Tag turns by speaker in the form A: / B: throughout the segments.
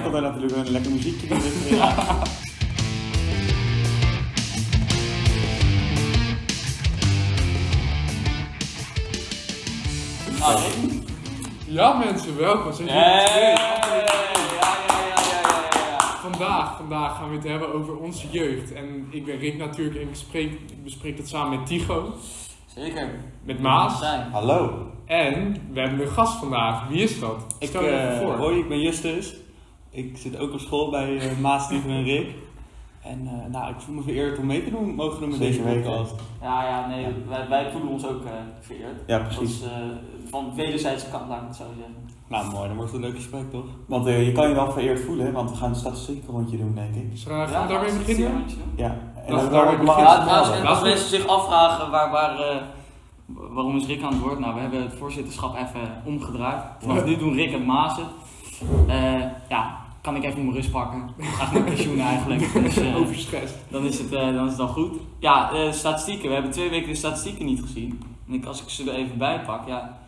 A: want daar natuurlijk een lekker muziekje in zit. Ja.
B: Ja mensen, welkom. Zijn jullie
A: Hey!
B: twee?
A: ja, ja, ja.
B: Vandaag, vandaag gaan we het hebben over onze jeugd. En ik ben Rick natuurlijk en ik bespreek, ik bespreek dat samen met Tycho,
A: Zeker.
B: met Maas.
A: Zijn.
C: Hallo,
B: En we hebben een gast vandaag. Wie is dat?
C: ik,
B: Stel je
C: eh,
B: even voor.
C: hoi, ik ben Justus. Ik zit ook op school bij eh Maas, Steven en Rick. En eh, nou, ik voel me vereerd om mee te doen, mogen doen met deze
D: Zeker weten.
C: podcast.
D: Ja, ja, nee, Wij, wij voelen ons ook eh vereerd.
A: eh, Ja,
D: Dat
A: precies.
D: is eh, van wederzijdse kant, laat ik het zo zeggen.
C: Nou mooi, dan wordt het een leuk gesprek toch?
A: Want eh, je kan je wel vereerd voelen, hè, want we gaan straks een rondje doen, denk ik.
B: Dus, eh, gaan we daarmee
D: laten
B: beginnen?
D: het zien,
A: Ja. En
B: Laten we
A: dat
B: daar
A: daar
B: ook
A: ook belangrijk verhaal
B: beginnen.
D: Ja, trouwens,
A: hebben.
D: en als mensen zich afvragen waar, waar, eh, waarom is Rick aan het woord, nou, we hebben het voorzitterschap even eh, omgedraaid. Vanaf nu doen Rick en Maas het. Eh, ja, kan ik even mijn rust pakken. Ik ga naar pensioen eigenlijk. Dus, eh,
B: Overstress.
D: dan is het, eh, dan is het al goed. Ja, eh, statistieken. We hebben twee weken de statistieken niet gezien. En ik, als ik ze er even bij pak, ja.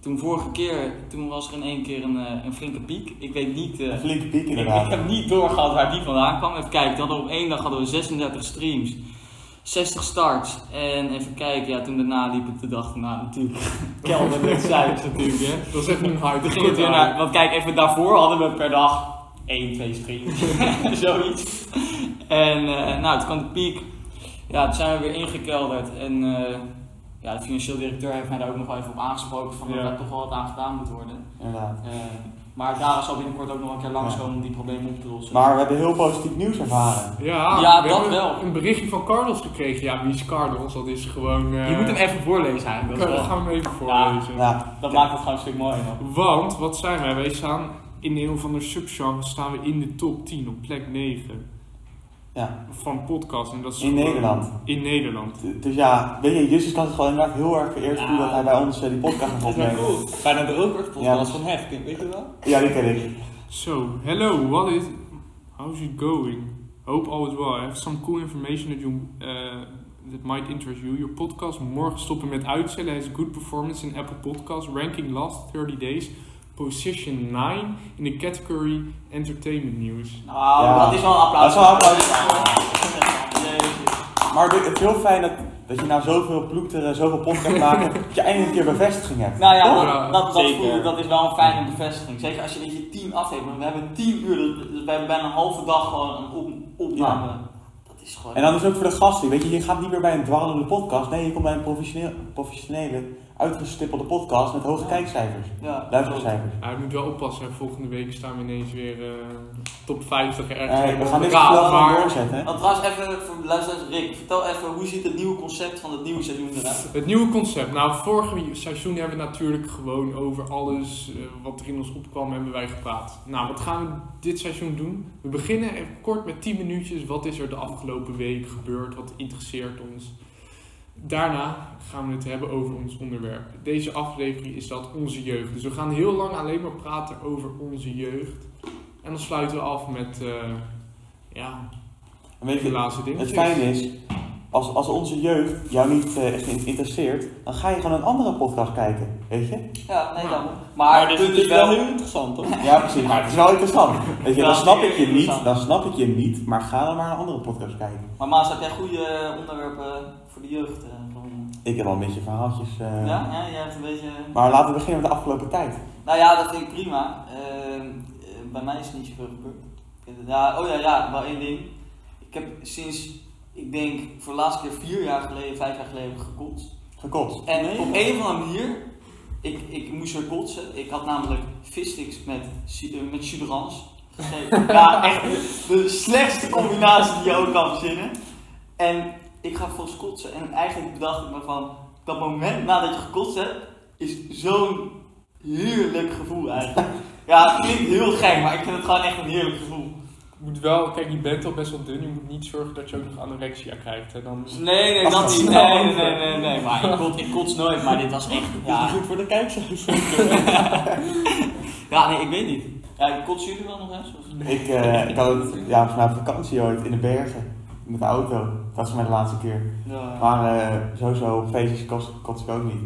D: Toen vorige keer, toen was er in één keer een, eh, een flinke piek. Ik weet niet. eh,
A: Een flinke piek
D: ik,
A: inderdaad.
D: ik heb niet doorgehad waar die vandaan kwam. Even kijken, dan op één dag hadden we 36 streams, 60 starts. En even kijken, ja, toen daarna liep het de dag daarna natuurlijk. Kelder met cijfers natuurlijk, hè.
B: Dat is even een hype.
D: Toen ging het weer
A: eh,
D: naar, nou, want kijk, even daarvoor hadden we per dag 1, 2 streams. Zoiets. En eh, nou, toen kwam de piek. Ja, toen zijn we weer ingekelderd. En eh, ja, de financieel directeur heeft mij daar ook nog wel even op aangesproken. Van
B: Ja.
D: dat daar toch wel wat aan gedaan moet worden.
A: Inderdaad.
D: Eh, maar daar zal binnenkort ook nog een keer langskomen om die problemen op te lossen.
A: Maar we hebben heel positief nieuws ervaren.
B: Ja,
D: Ja,
B: we
D: dat
B: hebben
D: wel.
B: een berichtje van Carlos gekregen. Ja, wie is Carlos? Dat is gewoon... eh,
D: je moet hem even voorlezen eigenlijk. Dat,
B: Carlos,
D: is wel-
B: gaan we hem even voorlezen.
A: Ja.
D: dat maakt het gewoon een stuk mooier. man.
B: Want, wat zijn wij? Wij staan in een of ander subgenre staan we in de top 10 op plek 9
A: Ja.
B: van podcast. En dat is
A: In
B: gewoon-
A: Nederland.
B: In Nederland.
A: Dus ja, weet je, Justus kan het gewoon inderdaad heel erg vereerd
D: Ja.
A: voelen dat hij bij ons eh, die podcast mag opnemen.
C: Bijna de rookworstpodcast
A: Ja, dat-
C: van Hefting, weet je wel?
A: Ja, die ken ik.
B: So, hello, what is... How's it going? Hope all is well. I have some cool information that you... eh, that might interest you. Your podcast morgen stoppen met uitzenden. Has good performance in Apple Podcasts. Ranking last 30 days. Position 9 in de category entertainment news.
D: Nou,
A: Ja.
D: dat is wel een applaus.
A: Dat is wel een applaus.
D: Jezus.
A: Maar Rick, het is heel fijn dat, dat je nou zoveel ploeteren, zoveel podcast maakt, dat je eindelijk een keer bevestiging hebt.
D: Nou ja,
A: Toch?
B: Ja,
D: dat, dat, dat,
A: zeker.
D: voel ik, dat is wel een fijne bevestiging. Zeker als je in je team afheeft. Want we hebben 10 uur, dus we hebben bijna een halve dag gewoon een op, opname. Dat is gewoon.
A: En dan is ook voor de gasten, weet je, je gaat niet meer bij een dwarrelende podcast, nee, je komt bij een professioneel, professionele, uitgestippelde podcast met hoge kijkcijfers,
D: ja,
A: luistercijfers.
B: Ja, je moet wel oppassen. hè. Volgende week staan we ineens weer eh, top 50 ergens.
A: Eh, we
B: helemaal
A: gaan dit
B: onderaan,
A: snel maar
B: maar-
A: doorzetten. hè.
D: Want trouwens, even voor de luisteraars, Rick, vertel even hoe ziet het nieuwe concept van het nieuwe seizoen eruit?
B: Het nieuwe concept. Nou, vorig seizoen hebben we natuurlijk gewoon over alles eh, wat er in ons opkwam, hebben wij gepraat. Nou, wat gaan we dit seizoen doen? We beginnen even kort met 10 minuutjes. Wat is er de afgelopen week gebeurd? Wat interesseert ons? Daarna gaan we het hebben over ons onderwerp. Deze aflevering is dat onze jeugd. Dus we gaan heel lang alleen maar praten over onze jeugd. En dan sluiten we af met eh, ja,
A: En weet
B: de
A: je,
B: laatste dingetjes.
A: het fijne is, als, als onze jeugd jou niet eh, echt in- interesseert, dan ga je gewoon een andere podcast kijken, weet je?
D: Ja, nee,
B: Ja.
D: dan. Maar dus
C: dit
A: dus
D: het
C: is
D: punt is
C: natuurlijk wel
D: wel.
C: heel interessant toch?
A: Ja, precies, maar het is wel interessant. Weet je,
D: Ja,
A: dan snap ik je
D: zeker
A: niet,
D: interessant.
A: dan snap ik je niet, maar ga dan maar een andere podcast kijken.
D: Maar Maas, heb jij goede eh, onderwerpen voor de jeugd? eh, gevonden?
A: Ik heb al een beetje verhaaltjes. eh,
D: ja, ja, jij hebt een beetje.
A: Maar laten we beginnen met de afgelopen tijd.
D: Nou ja, dat vind ik prima. Ehm, eh, bij mij is het niet zoveel gebeurd. Ik heb- Ja, oh ja, ja, wel één ding. Ik heb sinds, ik denk, voor de laatste keer vier jaar geleden, vijf jaar geleden gekotst.
A: Gekotst.
D: En op een of andere manier, ik, ik moest er kotsen. Ik had namelijk vissticks met, si- eh, met suderans gegeten. ja, echt de slechtste combinatie die je ook kan verzinnen. En ik ga volgens kotsen. En eigenlijk bedacht ik me van, dat moment nadat je gekotst hebt, is zo'n heerlijk gevoel eigenlijk. Ja, het klinkt heel gek, maar ik vind het gewoon echt een heerlijk gevoel.
B: Je moet wel, kijk, je bent al best wel dun. Je moet niet zorgen dat je ook nog anorexia krijgt. Hè? Dan
D: Nee, nee, dat niet. Nee, nee, nee, nee, nee. Maar ik kots, ik kots nooit, maar dit was echt.
C: Ja.
D: Ja,
C: Is goed voor de kijkcijfers.
D: ja nee, ik weet niet. Ja, kotsen jullie wel nog eens? Of?
A: Ik, eh, ik had het ja, volgens mij op vakantie ooit in de bergen. Met de auto. Dat was mijn laatste keer.
D: Ja.
A: Maar eh, sowieso op feestjes kost, kost ik ook niet.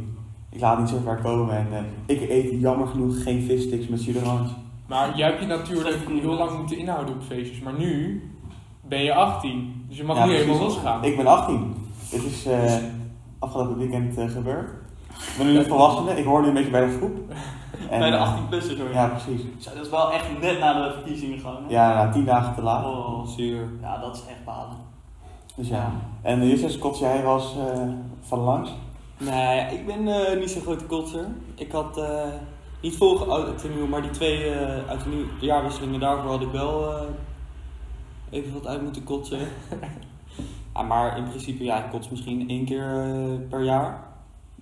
A: Ik laat niet zo ver komen en eh, ik eet jammer genoeg geen vissticks met suderans.
B: Maar jij hebt je natuurlijk
D: Zeker niet.
B: heel lang moeten inhouden op feestjes. Maar nu ben je 18. Dus je mag
A: Ja,
B: nu
A: precies.
B: helemaal losgaan.
A: Ik ben 18. Dit is eh, afgelopen weekend eh, gebeurd. Ik ben nu een volwassene. Ik hoor nu een beetje bij de groep. En,
D: Bij de
A: eh,
D: 18-plussers hoor.
A: Ja, precies.
D: Zo, dat is wel echt net na de verkiezingen gewoon. hè?
A: Ja, na tien dagen te laat.
D: Oh.
C: Zuur.
D: Ja, dat is echt balen.
A: Dus ja. En Justus, kots jij was eh, van langs.
C: Nee, ik ben eh, niet zo'n grote kotser. Ik had eh, niet vorige oud en nieuw, maar die twee eh, uit de nieuw- de jaarwisselingen daarvoor had ik wel eh, even wat uit moeten kotsen. ja, maar in principe, ja, ik kots misschien één keer eh, per jaar.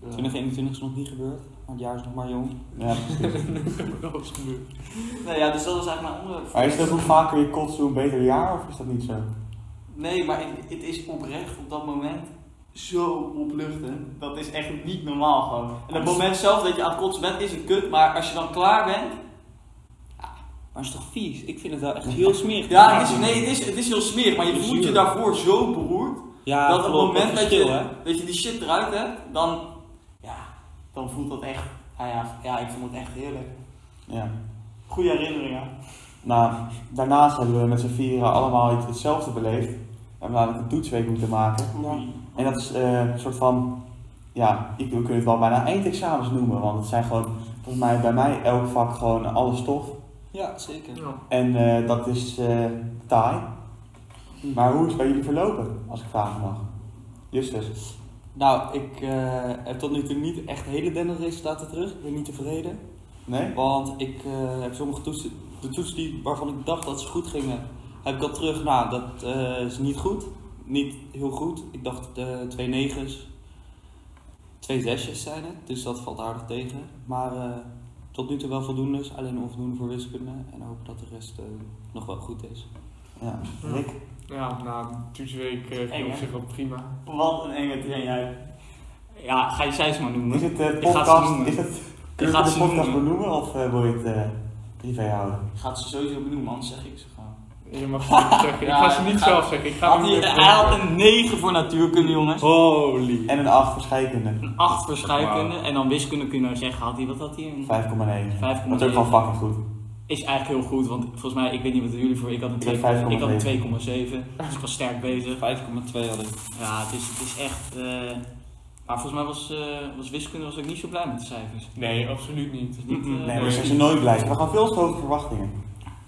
C: 2021 is nog niet gebeurd, maar het jaar is nog maar jong.
A: Ja, precies.
B: dat is gebeurd.
D: Nee, ja, dus dat is eigenlijk mijn onderwerp.
A: maar is dat hoe vaker je kotst, hoe beter jaar? Of is dat niet zo?
D: Nee, maar het, het is oprecht op dat moment zo opluchtend. Dat is echt niet normaal gewoon. En het moment zelf dat je aan het kotsen bent is een kut, maar als je dan klaar bent...
C: Maar het is toch vies? Ik vind het wel echt heel smerig.
D: Ja, het is, nee, het is, het is heel smerig, maar je voelt je daarvoor zo beroerd.
C: Ja,
D: dat op het
C: klopt,
D: moment dat
C: verschil,
D: je,
C: hè?
D: dat je die shit eruit hebt, dan... Ja, dan voelt dat echt... Ja, ja, ja ik vond het echt heerlijk.
A: Ja.
D: Goede herinneringen.
A: Nou, daarnaast hebben we met z'n vieren allemaal iets hetzelfde beleefd. We hebben namelijk een toetsweek moeten maken.
C: Ja.
A: En dat is eh, een soort van, ja, ik, we kunnen het wel bijna eindexamens noemen. Want het zijn gewoon, volgens mij, bij mij elk vak gewoon alles stof.
C: Ja, zeker.
B: Ja.
A: En eh, dat is eh taai. Maar hoe is het bij jullie verlopen, als ik vragen mag? Justus.
C: Nou, ik eh, heb tot nu toe niet echt hele denne resultaten terug. Ik ben niet tevreden.
A: Nee?
C: Want ik eh, heb sommige toetsen, de toetsen die, waarvan ik dacht dat ze goed gingen, heb ik al terug. Nou, dat eh, is niet goed. Niet heel goed. Ik dacht eh, twee negens, twee zesjes zijn het. Dus dat valt aardig tegen. Maar eh, tot nu toe wel voldoende is. Alleen onvoldoende voor wiskunde. En hoop dat de rest eh, nog wel goed is.
A: Ja. Rick?
B: Ja, na toetsweek eh,
D: Eng,
B: ging op
D: hè?
B: zich wel prima.
D: Wat een enge train jij. Ja, ga je cijfers maar noemen.
A: Is het eh,
D: Ik ga ze
A: podcast,
D: noemen.
A: is het, kun
D: Ik
A: je
D: ga
A: de
D: ze
A: podcast
D: noemen.
A: benoemen of eh, wil je het eh, privé houden?
D: Ik ga het ze sowieso benoemen, anders zeg ik ze gewoon.
B: Je mag ze niet zeggen. Ik
D: Ja,
B: ga ze niet
D: ik ga-
B: zelf zeggen. Ik ga
D: Had
B: hem
D: hij,
B: niet
D: hij had
B: zeggen.
D: een 9 voor natuurkunde, jongens.
C: Holy.
A: En een 8 voor scheikunde.
D: Een 8 voor scheikunde. En dan wiskunde kun je nou zeggen, had hij, wat had hij? Een-
A: 5,9.
D: 5,9.
A: Dat is ook gewoon fucking goed.
D: Is eigenlijk heel goed, want volgens mij, ik weet niet wat jullie voor, ik had een
A: Ik
D: 2,
A: had
D: ik had een
A: 5,7.
D: 2,7. Dus ik was sterk bezig.
C: 5,2 had ik.
D: Ja, het is, het is echt... eh, maar volgens mij was, eh, was wiskunde was ik niet zo blij met de cijfers.
B: Nee, absoluut niet.
D: Het is niet,
B: Mm-mm.
D: eh,
A: Nee, maar ze zijn nooit blij. We gaan veel te hoge verwachtingen.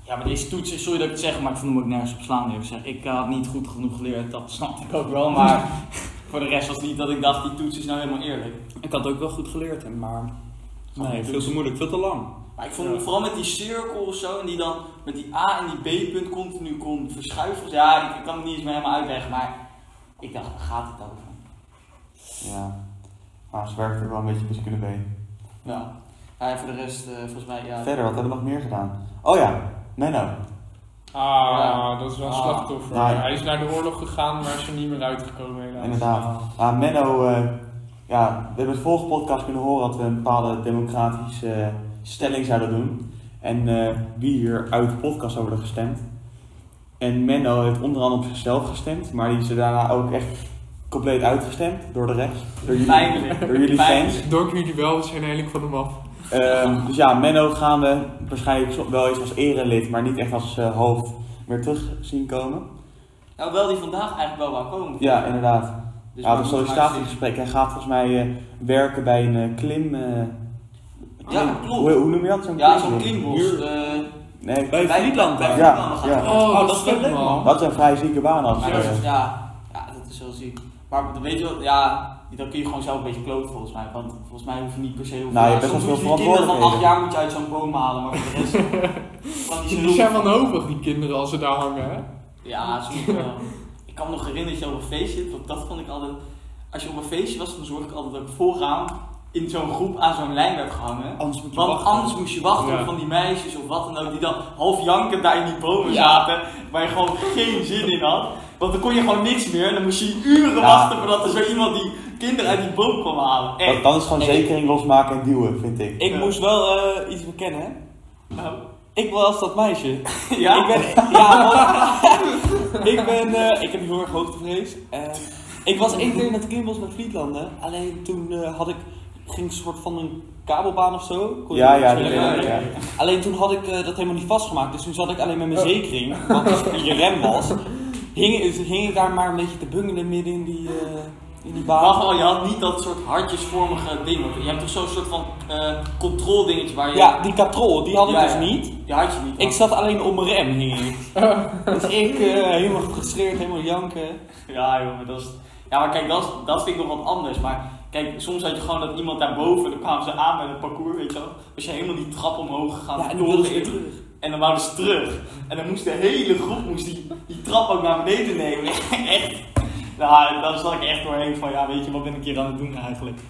D: Ja, maar deze toetsen, sorry dat ik het zeg, maar ik vond hem ook nergens op slaan. eerlijk gezegd. Ik eh, had niet goed genoeg geleerd, dat snapte ik ook wel. Maar voor de rest was het niet dat ik dacht, die toets is nou helemaal eerlijk.
C: Ik had ook wel goed geleerd, hè, maar.
D: Nee,
C: Nee, veel te moeilijk, veel te lang.
D: Maar ik vond hem vooral met die cirkel of zo, en die dan met die A en die B-punt continu kon verschuiven. Ja, ik, ik kan het niet eens meer helemaal uitleggen, maar ik dacht, waar gaat het over?
A: Ja. Maar ze werken er wel een beetje wiskunde bij.
D: Nou, ja, voor de rest, eh, volgens mij, ja.
A: Verder, wat hebben we nog meer gedaan? Oh ja, Menno.
B: Ah,
D: Ja.
B: dat is wel een
D: Ah.
B: slachtoffer.
A: Nee.
B: Hij is naar de oorlog gegaan, maar is er niet meer uitgekomen helaas.
A: Inderdaad. Maar Menno, eh, ja, we hebben het vorige podcast kunnen horen dat we een bepaalde democratische eh, stelling zouden doen. En eh, wie hier uit de podcast over hebben gestemd. En Menno heeft onder andere op zichzelf gestemd, maar die is er daarna ook echt compleet uitgestemd door de rechts. Door jullie,
D: Pijnlijk.
A: door jullie
D: Pijnlijk.
A: fans.
B: Dus Door jullie wel, we zijn eigenlijk van hem af.
A: Ehm, dus ja, Menno gaan we waarschijnlijk zo- wel eens als erelid, maar niet echt als eh, hoofd meer terug zien komen.
D: Nou, wel die vandaag eigenlijk wel wou komen.
A: Ja, inderdaad.
D: Dus
A: ja,
D: maar
A: dat
D: moet maar zien.
A: sollicitatiegesprek. Hij gaat volgens mij eh, werken bij een eh, klim. eh,
D: Ja,
A: klim-
D: klopt.
A: Hoe, hoe noem je dat? Zo'n
D: Ja, zo'n
A: klim-
D: klimbos.
A: Muur?
D: eh
A: Nee,
C: Bij Friedland,
D: bij
C: hè?
A: Ja,
D: Friedland.
A: ja.
B: Oh,
C: dat
B: dat
C: is
B: is
C: wel
B: leuk
C: leuk,
B: man.
A: dat is een vrij zieke baan als
D: Maar dat
A: eh,
D: is- ja, ja, dat is wel ziek. Maar dan weet je wel, ja, dan kun je gewoon zelf een beetje kloten volgens mij. Want volgens mij hoef je niet per se heel
A: Nou, je
D: Ja,
A: bent
D: soms
A: wel
D: moet
A: veel
D: je die kinderen van acht
A: verantwoordelijkheden.
D: jaar moet je uit zo'n boom halen, maar voor de rest... kan die zo
B: Die zijn wanhopig, die kinderen, als ze daar hangen, hè?
D: Ja, soms wel. Ik kan me nog herinneren dat je op een feestje, zit, want dat vond ik altijd... Als je op een feestje was, dan zorg ik altijd dat ik vooraan in zo'n groep aan zo'n lijn werd gehangen.
C: Anders moet je
D: Want
C: wachten.
D: anders moest je wachten
B: Ja.
D: op van die meisjes of wat dan ook, die dan half janken daar in die bomen
C: Ja.
D: zaten, waar je gewoon geen zin in had. Want dan kon je gewoon niks meer en dan moest je uren
A: Ja.
D: wachten voordat er zo iemand die kinderen uit die boom kwam halen.
A: dat-
D: Echt.
A: Dan is gewoon
C: Echt.
A: zekering losmaken en duwen, vind ik.
C: Ik
D: Ja.
C: moest wel eh, iets bekennen, hè?
D: Nou,
C: Ik was dat meisje.
D: ja?
C: Ik ben. Ja, want- ik ben. eh, ik heb heel erg hoogtevrees. Eh, ik was één keer in het Kimbels met Friedlanden. Alleen toen eh, had ik ging een soort van een kabelbaan of zo. Kon je
A: Ja,
C: niet
A: ja,
C: zo
A: dat
C: lekker-
A: weet ik, ja.
C: Alleen toen had ik eh, dat helemaal niet vastgemaakt, dus toen zat ik alleen met
D: Oh.
C: mijn zekering, wat dus in je rem was. Hing, hing ik daar maar een beetje te bungelen midden in die, eh, in die baan.
D: Wacht al, je had niet dat soort hartjesvormige ding. want Je hebt toch zo'n soort van eh control dingetje waar je...
C: Ja, die katrol, die had ik
D: Ja,
C: dus
D: ja.
C: niet.
D: Die had je niet.
C: Ik zat alleen om mijn rem hing ik. Dus ik eh, helemaal gefrustreerd, helemaal janken.
D: Oh. Ja, joh, maar dat is. Ja, maar kijk, dat, is- dat vind ik nog wat anders. Maar kijk, soms had je gewoon dat iemand daarboven, dan kwamen ze aan met een parcours, weet je wel. Was je helemaal die trap omhoog gegaan.
C: Ja, en
D: door
C: toen wilde ze
D: in-
C: weer terug.
D: En dan wouden ze terug. En dan moest de hele groep moest die, die trap ook naar beneden nemen. echt. Nou, daar zat ik echt doorheen van, ja, weet je, wat ben ik hier aan het doen eigenlijk?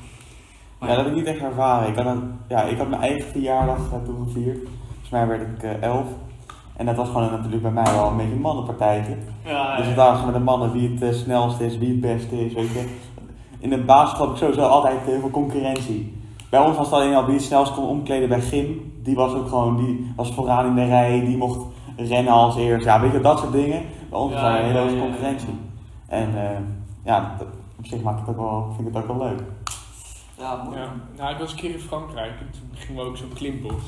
A: Ja, dat heb ik niet echt ervaren. Ik had, een- ja, ik had mijn eigen verjaardag eh, toen gevierd. Volgens mij werd ik eh, elf. En dat was gewoon natuurlijk bij mij wel een beetje een mannenpartijtje.
D: Ja,
A: Dus
D: ja.
A: het waren gewoon met de mannen wie het eh, snelst is, wie het beste is, weet je. In de basis had ik sowieso altijd heel veel concurrentie. Bij ons was het alleen al wie het snelst kon omkleden bij Gym. Die was ook gewoon, die was vooraan in de rij, die mocht rennen als eerst. Ja, weet je, dat soort dingen. Bij ons was
D: Ja,
A: daar een hele
D: ja,
A: hoge
D: ja, ja.
A: concurrentie. En eh, ja, dat- op zich maakt het ook wel, vind ik het ook wel leuk.
C: Ja, mooi.
B: Ja, nou, ik was een keer in Frankrijk en toen gingen we ook zo'n klimbos.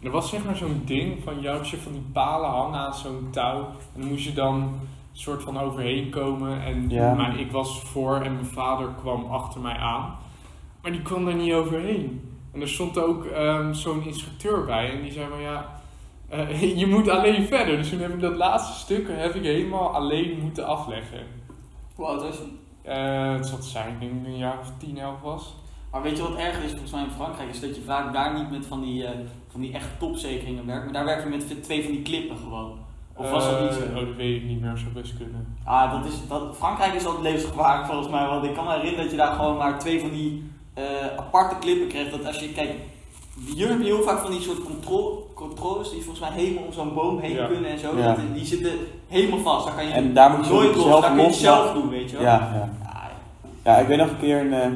B: En er was zeg maar zo'n ding van, je had je van die palen hangen aan zo'n touw. En dan moest je dan soort van overheen komen. En
A: Ja.
B: maar ik was voor en mijn vader kwam achter mij aan. Maar die kwam daar niet overheen. En er stond ook ehm, zo'n instructeur bij en die zei van ja, eh, je moet alleen verder. Dus toen heb ik dat laatste stuk heb ik helemaal alleen moeten afleggen.
D: Hoe oud was je?
B: Eh, het zat zijn, ik denk dat ik een jaar of 10, 11 was.
D: Maar weet je wat erg is volgens mij in Frankrijk? Is dat je vaak daar niet met van die, eh, van die echt topzekeringen werkt. Maar daar werken we met twee van die klippen gewoon. Of was dat niet
B: Eh,
D: zo?
B: Oh, dat weet ik niet meer, zou best kunnen.
D: Ah, dat is, dat, Frankrijk is altijd levensgevaarlijk volgens mij. Want ik kan me herinneren dat je daar gewoon maar twee van die eh, aparte klippen kreeg. Dat als je kijkt, hier heb je heel vaak van die soort control, controles die volgens mij helemaal om zo'n boom heen
B: Ja.
D: kunnen en zo.
A: Ja.
D: Dat- die zitten helemaal vast. Daar kan je
A: En daar moet je
D: nooit
A: zelf
D: los. Daar kun je het
A: los
D: zelf doen, weet je
A: Ja,
D: wel.
A: ja.
D: Ah,
A: Ja, ik weet nog een keer in eh,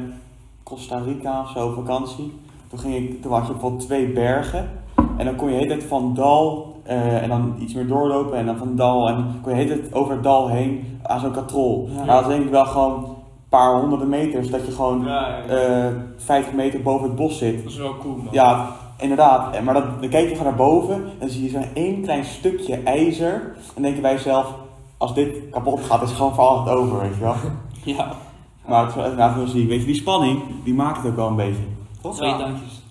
A: Costa Rica of zo, op vakantie. Toen, ging ik, toen had je bijvoorbeeld twee bergen. En dan kon je de hele tijd van dal eh, en dan iets meer doorlopen en dan van dal. En dan kon je de hele tijd over het dal heen aan zo'n katrol.
C: Ja.
A: Maar dat is denk ik wel gewoon een paar honderden meters. Dat je gewoon
D: Ja, ja, ja.
A: eh, 50 meter boven het bos zit.
B: Dat is wel cool, man.
A: Ja, inderdaad. En- Maar dat, dan kijk je gewoon naar boven en dan zie je zo'n één klein stukje ijzer. En dan denken wij zelf, als dit kapot gaat, is het gewoon voor altijd over, weet je wel.
C: Ja,
A: Maar het is wel inderdaad heel ziek. Weet je, die spanning, die maakt het ook wel een beetje.
C: toch?
D: Twee
C: dankjes.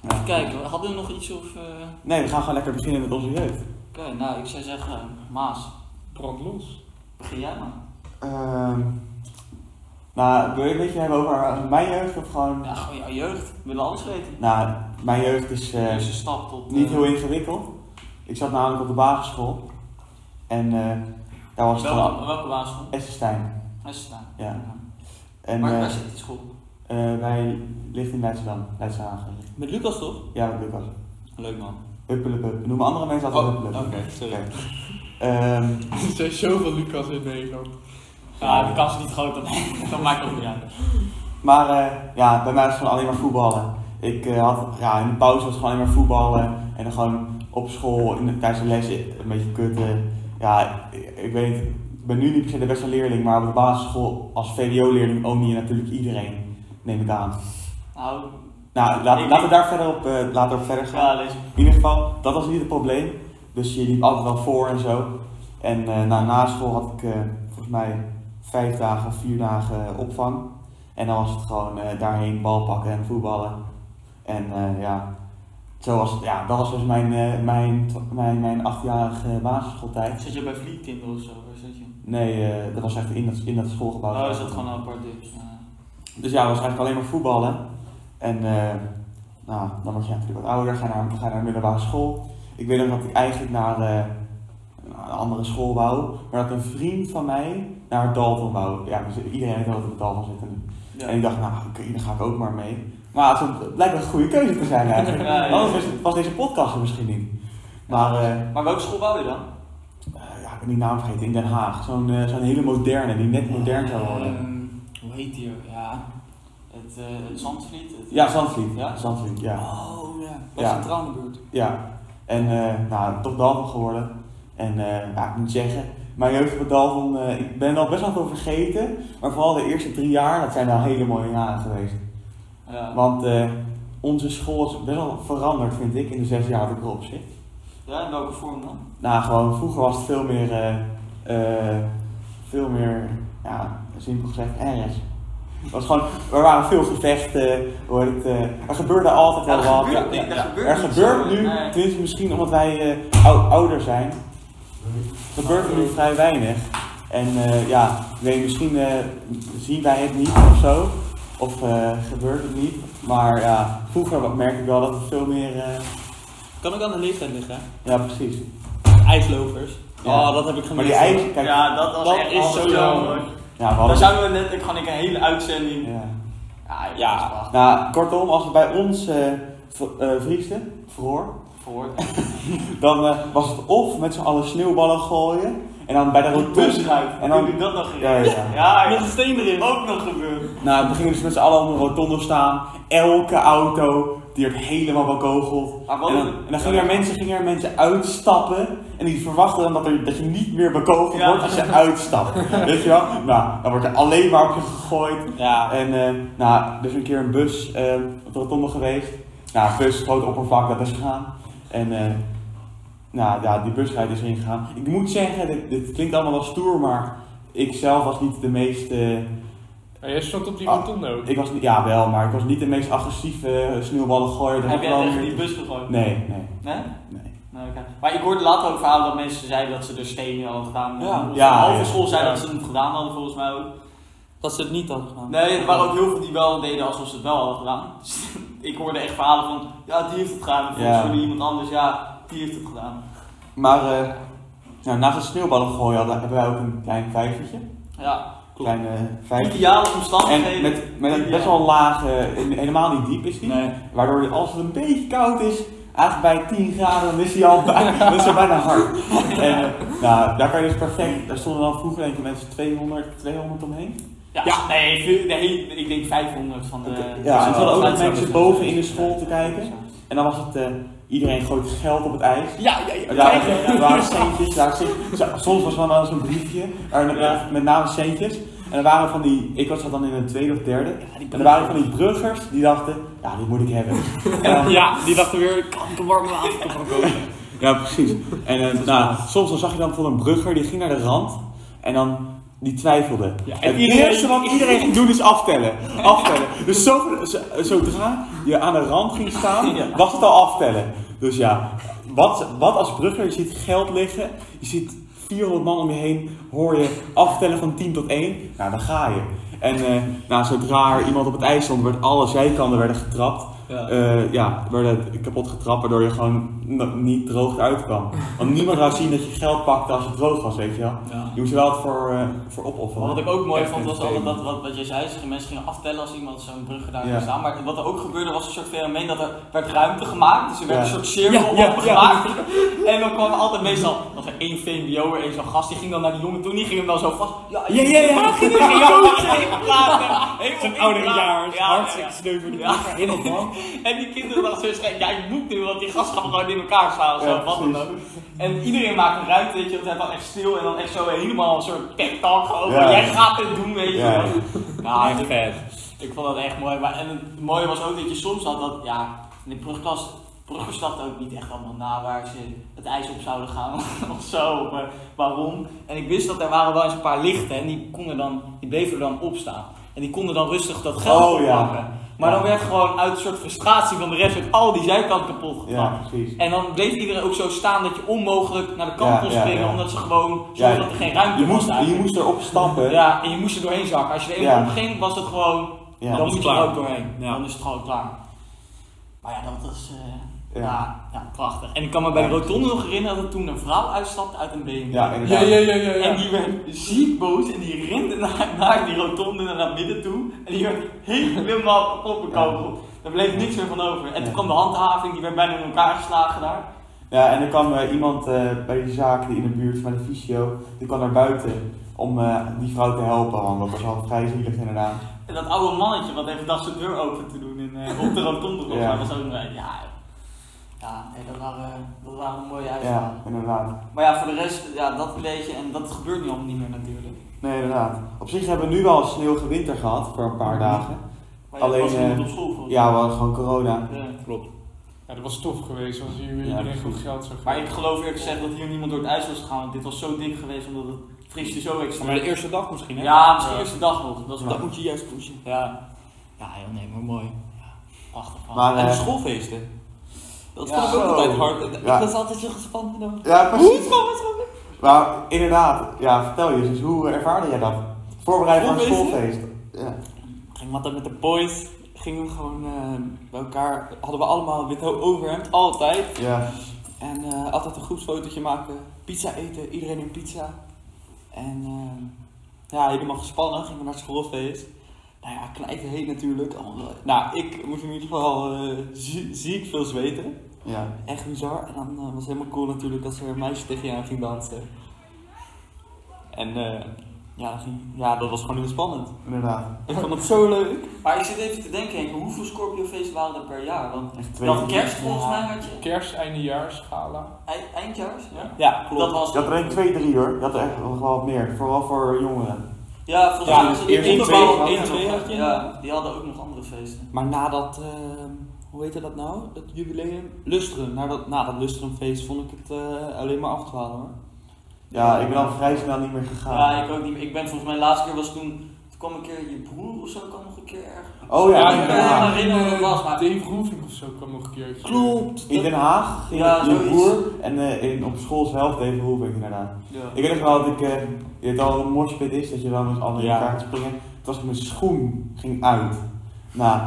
A: Ja.
D: Kijk, we hadden nog iets of... eh,
A: Nee, we gaan gewoon lekker beginnen met onze jeugd.
D: Oké, nou ik zou zeggen, Maas,
B: Brand los.
D: begin jij maar.
A: Ehm nou, wil je een beetje hebben over mijn jeugd of gewoon...
D: Ja, gewoon jouw jeugd. We willen alles weten.
A: Nou, mijn jeugd is
D: De
A: eh,
D: eerste stap tot...
A: niet
D: eh,
A: heel ingewikkeld. Ik zat namelijk op de basisschool. En eh, daar was het gewoon...
D: Welke, welke basisschool?
A: Essenstein.
D: Essenstein.
A: Ja. En
D: maar
A: eh
D: waar zit die school?
A: eh, wij ligt in Leidschendam, Leidshagen.
C: Met Lucas toch?
A: Ja, dat Lucas.
C: Leuk man.
A: Huppelepup. Noem andere mensen altijd
C: Oh,
A: huppelepup.
C: oké, sorry.
A: Oké. Ehm,
B: Er zijn zoveel Lucas in Nederland.
D: Ja, de kans is niet groot, dan, dan maakt het ook niet uit.
A: Maar eh, ja, bij mij was het gewoon alleen maar voetballen. Ik eh, had, ja, in de pauze was het gewoon alleen maar voetballen. En dan gewoon op school, in de, tijdens de les, een beetje kutten. Ja, ik, ik weet niet, ik ben nu niet per se de beste leerling, maar op de basisschool als VWO-leerling oom je natuurlijk iedereen, neem ik aan.
D: Nou,
A: Nou, laat,
D: Ik-
A: laten we daar verder op, eh, later op verder gaan.
D: ja, lees.
A: In ieder geval, dat was niet het probleem. Dus je liep altijd wel voor en zo. En eh, na, na school had ik eh, volgens mij vijf dagen of vier dagen eh, opvang. En dan was het gewoon eh, daarheen bal pakken en voetballen. En eh, ja, zo was, het- ja, dat was dus mijn, eh, mijn, tw- mijn, mijn achtjarige basisschooltijd.
D: Zit je bij Vliegtinder of zo? Waar zit je?
A: Nee, eh, dat was echt in dat, in dat schoolgebouw.
D: Oh, is dat gewoon een apart ding? Ja.
A: Dus ja, het was eigenlijk alleen maar voetballen. En eh, nou, dan word je natuurlijk wat ouder, ga je naar, ga je naar de middelbare school. Ik weet nog dat ik eigenlijk naar eh, naar een andere school wou, maar dat een vriend van mij naar Dalton wou. Ja, dus iedereen weet wel dat we op Dalton zitten nu.
D: Ja.
A: En ik dacht, nou, oké, daar ga ik ook maar mee. Maar het, is- het blijkt wel een goede keuze te zijn eigenlijk.
D: Ja, ja.
A: Anders was, was deze podcast er misschien niet. Maar eh,
D: Maar welke school wou je dan?
A: eh, ja, ik ben die naam vergeten, in Den Haag. Zo'n eh, zo'n hele moderne, die net modern zou worden.
D: Ehm, hoe heet die ook? Ja. Het, eh het Zandvliet? Het...
A: Ja, Zandvliet.
D: Ja?
A: Zandvliet, ja.
C: Oh ja, bij
A: Ja.
C: Centraal in de buurt.
A: Ja, en eh, nou, toch Dalton geworden. En eh, ja, ik moet zeggen, mijn jeugd op Dalton, eh, ik ben al best wel veel vergeten. Maar vooral de eerste drie jaar, dat zijn wel hele mooie jaren geweest.
D: Ja.
A: Want eh, onze school is best wel veranderd, vind ik, in de zes jaar dat ik erop zit.
D: ja, in welke vorm dan?
A: Nou, gewoon vroeger was het veel meer, eh, eh, veel meer, ja, simpel gezegd, ergens. Het was gewoon, er waren veel gevechten, hoe heet het, eh, er gebeurde altijd wel wat.
D: Ja, dat gebeurt niet, dat
A: Ja,
D: gebeurt
A: er
D: niet
A: gebeurt
D: zo,
A: nu,
D: nee.
A: tenminste misschien omdat wij eh, ou- ouder zijn, gebeurt er nu vrij weinig. En eh, ja, ik weet, misschien eh, zien wij het niet of zo, of eh, gebeurt het niet. Maar ja, vroeger merk ik wel dat het veel meer, eh,
C: Kan ook aan de leeftijd liggen. hè?
A: ja precies.
C: IJslopers.
A: Ja.
C: Oh, dat heb ik gemist.
A: Maar die ijs, kijk,
D: ja, dat was
C: dat
D: echt
C: is
D: altijd
C: zo jammer.
D: jammer.
A: ja, we
D: Daar
A: hadden-
D: zouden we net, ik gewoon een hele uitzending.
A: ja.
D: Ja,
C: Ja.
D: ja. prachtig.
A: Nou, kortom, als het bij ons eh v- eh, vriesde, verhoor,
D: Verhoord.
A: dan eh, was het of met z'n allen sneeuwballen gooien en dan bij de
D: Een
A: rotonde.
D: tussenuit.
A: en
D: En
A: dan-
D: dan doe dat nog
A: Ja,
D: in.
A: ja, ja.
D: Ja,
C: Met
D: ja.
C: een steen erin.
D: Ook nog gebeurd.
A: Nou, dan gingen we dus met z'n allen om een rotonde staan. Elke auto, die werd helemaal bekogeld.
D: Maar Ah, wat
A: En dan, en dan gingen, er mensen, gingen er mensen uitstappen en die verwachten dan dat, er, dat je niet meer bekogeld
D: Ja.
A: wordt als je uitstapt. Weet je wel? Nou, dan wordt er alleen maar op je gegooid.
C: Ja.
A: En eh, nou, er is een keer een bus eh, op de rotonde geweest. Nou, een bus, groot oppervlak, dat is gegaan. En eh, nou, ja, die busrijd is erin gegaan. Ik moet zeggen, dit, dit klinkt allemaal wel stoer, maar ik zelf was niet de meest... eh,
B: Maar jij stond op die
A: Ah,
B: rotonde ook.
A: ik was, niet- ja, wel, maar ik was niet de meest agressieve sneeuwballengooier. Dat
D: Heb
A: ik
D: jij
A: wel-
D: tegen die bus gegooid?
A: Nee, nee,
D: Nee?
A: nee.
D: Nou, oké. Maar ik hoorde later ook verhalen dat mensen zeiden dat ze er stenen hadden gedaan.
C: Ja.
D: Of
A: Ja,
D: de halve
A: ja.
D: school zei
B: Ja.
D: dat ze het gedaan hadden volgens mij ook.
C: Dat ze het niet hadden gedaan.
D: Nee, er waren ook heel veel die wel deden alsof ze het wel hadden gedaan. Dus ik hoorde echt verhalen van, ja die heeft het gedaan. En volgens
A: Ja.
D: hoorde iemand anders, ja die heeft het gedaan.
A: Maar eh, nou, naast het sneeuwballengooien hadden- hebben wij ook een klein vijvertje.
D: Ja,
A: Klein eh, vijvertje.
D: ideale
A: En
D: omstandigheden.
A: met, met een best wel laag, eh, en helemaal niet diep is die.
C: Nee.
A: Waardoor die- als het een beetje koud is, eigenlijk bij 10 graden, dan is hij al bijna, dan is hij bijna hard. En, eh, nou, daar kan je dus perfect. Daar stonden dan vroeger denk ik mensen 200, 200 omheen.
D: Ja, Nee, veel- nee, ik denk 500 van de...
A: Ja, en er
D: van de
A: hadden ook nog
D: mensen
A: mensen boven in de school te kijken. En dan was het, eh, iedereen gooit geld op het ijs.
B: Ja, ja, ja.
A: Er waren, er waren centjes, er waren centjes. Zo- soms was er wel eens een briefje, er-
D: Ja.
A: met name centjes. En er waren van die, ik was dat dan in een tweede of derde.
D: die
A: en er waren van die bruggers die dachten, ja, dit moet ik hebben. En
C: Eh,
A: dan-
B: Ja, die dachten weer, ik kan een warme avond gaan kopen.
A: Ja, precies. En eh, nou, soms dan zag je dan van een brugger die ging naar de rand en dan die twijfelde.
B: Ja, en
A: het
B: iedereen-
A: eerste wat iedereen ging doen is aftellen. Aftellen. Dus zo, zo- zodra je aan de rand ging staan, was het al aftellen. Dus ja, wat, wat als brugger? Je ziet geld liggen, je ziet 400 man om je heen, hoor je aftellen van 10 tot 1. Nou, dan ga je. En eh, nou, zodra er iemand op het ijs stond, werd alle zijkanten werden getrapt.
C: Ja.
A: Eh, ja, werden kapot getrapt, waardoor je gewoon n- niet droog uitkwam. Want niemand zou zien dat je geld pakte als het droog was, weet je wel.
C: Ja.
A: Je moest er wel wat voor, eh, voor opofferen.
D: Wat ik ook mooi
A: Echt
D: vond was altijd
A: entertainment.
D: dat wat, wat jij zei, ze- mensen gingen aftellen als iemand zo'n brug daar
A: Ja.
D: ging staan. Maar wat er ook gebeurde was een soort fenomeen dat er werd ruimte gemaakt. Dus er werd
A: Ja.
D: een soort cirkel
B: Ja, ja,
D: opgemaakt. En dan kwam altijd meestal, was er één VMBO'er, één zo'n gast, die ging dan naar die jongen toe. Die ging hem dan zo vast. Ja,
B: Ja, ja, ja.
D: Die ging hem dan even praten. Helemaal
B: Zijn
D: inpraten.
B: ouderjaars,
D: Ja, ja,
B: hartstikke
D: ja.
B: sneu voor die
D: Ja.
B: brugger, helemaal bang.
D: En die kinderen dachten zo schrik, ja ik moet nu, want die gast gaat me gewoon in elkaar slaan of zo,
A: Ja,
D: wat dan
A: precies.
D: ook. En iedereen maakt een ruimte, weet je, want hij was echt stil en dan echt zo helemaal een soort pep talk gewoon,
A: Ja.
D: van, jij gaat dit doen, weet je
A: Ja.
D: wel. Nou,
B: Echt
D: ik-
B: vet.
D: ik vond dat echt mooi. Maar, en het mooie was ook dat je soms had dat, ja, in de brugklas, bruggers dachten ook niet echt allemaal na waar ze het ijs op zouden gaan of zo, maar waarom. En ik wist dat er waren wel eens een paar lichten en die, konden dan, die bleven er dan opstaan. En die konden dan rustig dat geld
A: Oh, ja.
D: oppakken. Maar
A: Ja.
D: dan werd gewoon uit een soort frustratie van de rest werd al die zijkant kapot gepakt.
A: Ja, precies.
D: En dan bleef iedereen ook zo staan dat je onmogelijk naar de kant
A: Ja,
D: kon
A: ja,
D: springen,
A: ja.
D: omdat ze gewoon,
A: Ja,
D: zonder dat er geen ruimte
A: Je
D: was
A: moest, je
D: eigenlijk.
A: moest erop stappen.
D: Ja, en je moest er doorheen zakken. Als je er eenmaal
A: Ja.
D: op ging, was het gewoon
A: Ja.
D: dan
B: is
D: moet
B: het
D: je er
B: klaar.
D: ook doorheen.
B: Ja.
D: Dan is het gewoon klaar. Maar ja, dat was
A: Ja.
D: eh, ja. Ja, prachtig. En ik kan me bij de rotonde nog herinneren dat toen een vrouw uitstapte uit een BMW.
A: Ja,
B: Ja,
A: inderdaad.
B: ja, ja, ja.
D: En
B: ja.
D: die werd ziek boos en die rende naar, naar die rotonde naar naar midden toe. En die werd helemaal opgekogeld. Daar bleef niks meer van over. En
A: Ja.
D: toen kwam de handhaving, die werd bijna in elkaar geslagen daar.
A: Ja, en er kwam eh, iemand eh, bij die zaak die in de buurt van de fysio, die kwam naar buiten om eh, die vrouw te helpen, want dat was al vrij zielig inderdaad.
D: En dat oude mannetje wat even dacht zijn deur open te doen in, eh, op de rotonde. volgens
A: Ja.
D: mij, was ook nog een- Ja, ja nee, dat, waren, dat waren mooie uitspraken.
A: Ja, inderdaad.
D: Maar ja, voor de rest, ja, dat een beetje. En dat gebeurt nu allemaal niet meer natuurlijk.
C: Mhm.
A: Nee, inderdaad. Op zich hebben we nu wel een sneeuwige winter gehad voor een paar dagen.
D: Maar
A: Alleen,
D: Alleen, was
A: eh,
D: niet op school volgens
A: Ja, we hadden gewoon corona.
D: mij. Eh, Ja.
C: Klopt.
B: Ja, dat was tof geweest als jullie
A: Ja,
B: iedereen gewoon
A: precies.
B: geld zou geven.
D: Maar ik geloof eerlijk gezegd dat hier niemand door het ijs was gegaan, want dit was zo dik geweest omdat het vriesje zo extreem.
C: Maar de eerste dag misschien, hè?
D: Ja, misschien de eerste dag nog. Dat is
C: Dat
D: waar.
C: moet je juist pushen.
D: Ja. Ja, joh, nee, maar mooi. Ja, Prachtig. man.
A: Maar,
C: En de
A: eh,
C: schoolfeesten. Dat
D: Ja,
C: vond ik ook
A: zo.
C: altijd hard.
A: Ja.
C: Ik was altijd zo gespannen. en dan-
A: ja,
C: Hoe
A: precies.
C: is het gewoon met
A: Maar inderdaad, ja, vertel je eens, hoe ervaarde jij dat? Voorbereiden van een schoolfeest. Ja.
C: Ging altijd met de boys. Gingen we gewoon eh, bij elkaar. Hadden we allemaal wit ho- overhemd. Altijd.
A: ja.
C: En eh, altijd een groepsfotootje maken, pizza eten, iedereen een pizza. En eh, ja, helemaal gespannen, gingen we naar het schoolfeest. Nou ja, knijten heet natuurlijk. Allemaal, nou, ik moest in ieder geval eh, zie ziek veel zweten.
A: ja.
C: Echt bizar. En dan eh, was het helemaal cool natuurlijk als er een meisje tegen je aan ging dansen. En eh, ja, dat ging, ja, dat was gewoon heel spannend.
A: Inderdaad.
C: Ik vond het zo leuk.
D: Maar ik zit even te denken, Henk, hoeveel Scorpio-feesten waren er per jaar? Want
A: Echt twee.
D: dat kerst volgens
C: Ja.
D: mij had je e-,
B: Kerst, eindejaarsgala.
D: eind- eindjaars. Ja.
C: Ja, klopt.
D: Dat was
A: Je had er één, twee, drie hoor. Je had er echt nog wel wat meer. Vooral voor jongeren.
D: Ja, volgens
C: Ja,
D: mij was het
A: eerst
D: in
A: één,
D: ieder geval
C: twee,
D: één,
C: één,
D: twee
C: twee
D: had je.
C: inderdaad.
D: Ja, die hadden ook nog andere feesten.
C: Maar na dat, ehm, hoe heette dat nou? Het jubileum? Lustrum. Na dat, na dat Lustrumfeest vond ik het eh, alleen maar afdwalen hoor.
A: Ja, ik ben al vrij snel niet meer gegaan.
D: Ja, ik ook niet. meer. Ik ben volgens mij de laatste keer was toen, toen kwam een keer je broer of zo kwam nog een keer erg.
A: Oh ja,
D: Ja,
A: in Den
D: ik ben helemaal
A: Haag.
D: herinneren wat het was, maar
B: Dave Roelvink of zo kwam nog een keer.
C: Klopt!
A: In Den Haag ging
D: Ja,
A: ik met je
D: zoiets.
A: broer en eh, in, op school zelf deed Roelvink inderdaad.
D: Ja.
A: Ik weet nog wel dat ik, eh, je weet al een moshpit is, dat je dan met anderen in
C: Ja.
A: elkaar gaat springen. Het was mijn schoen ging uit. Nou,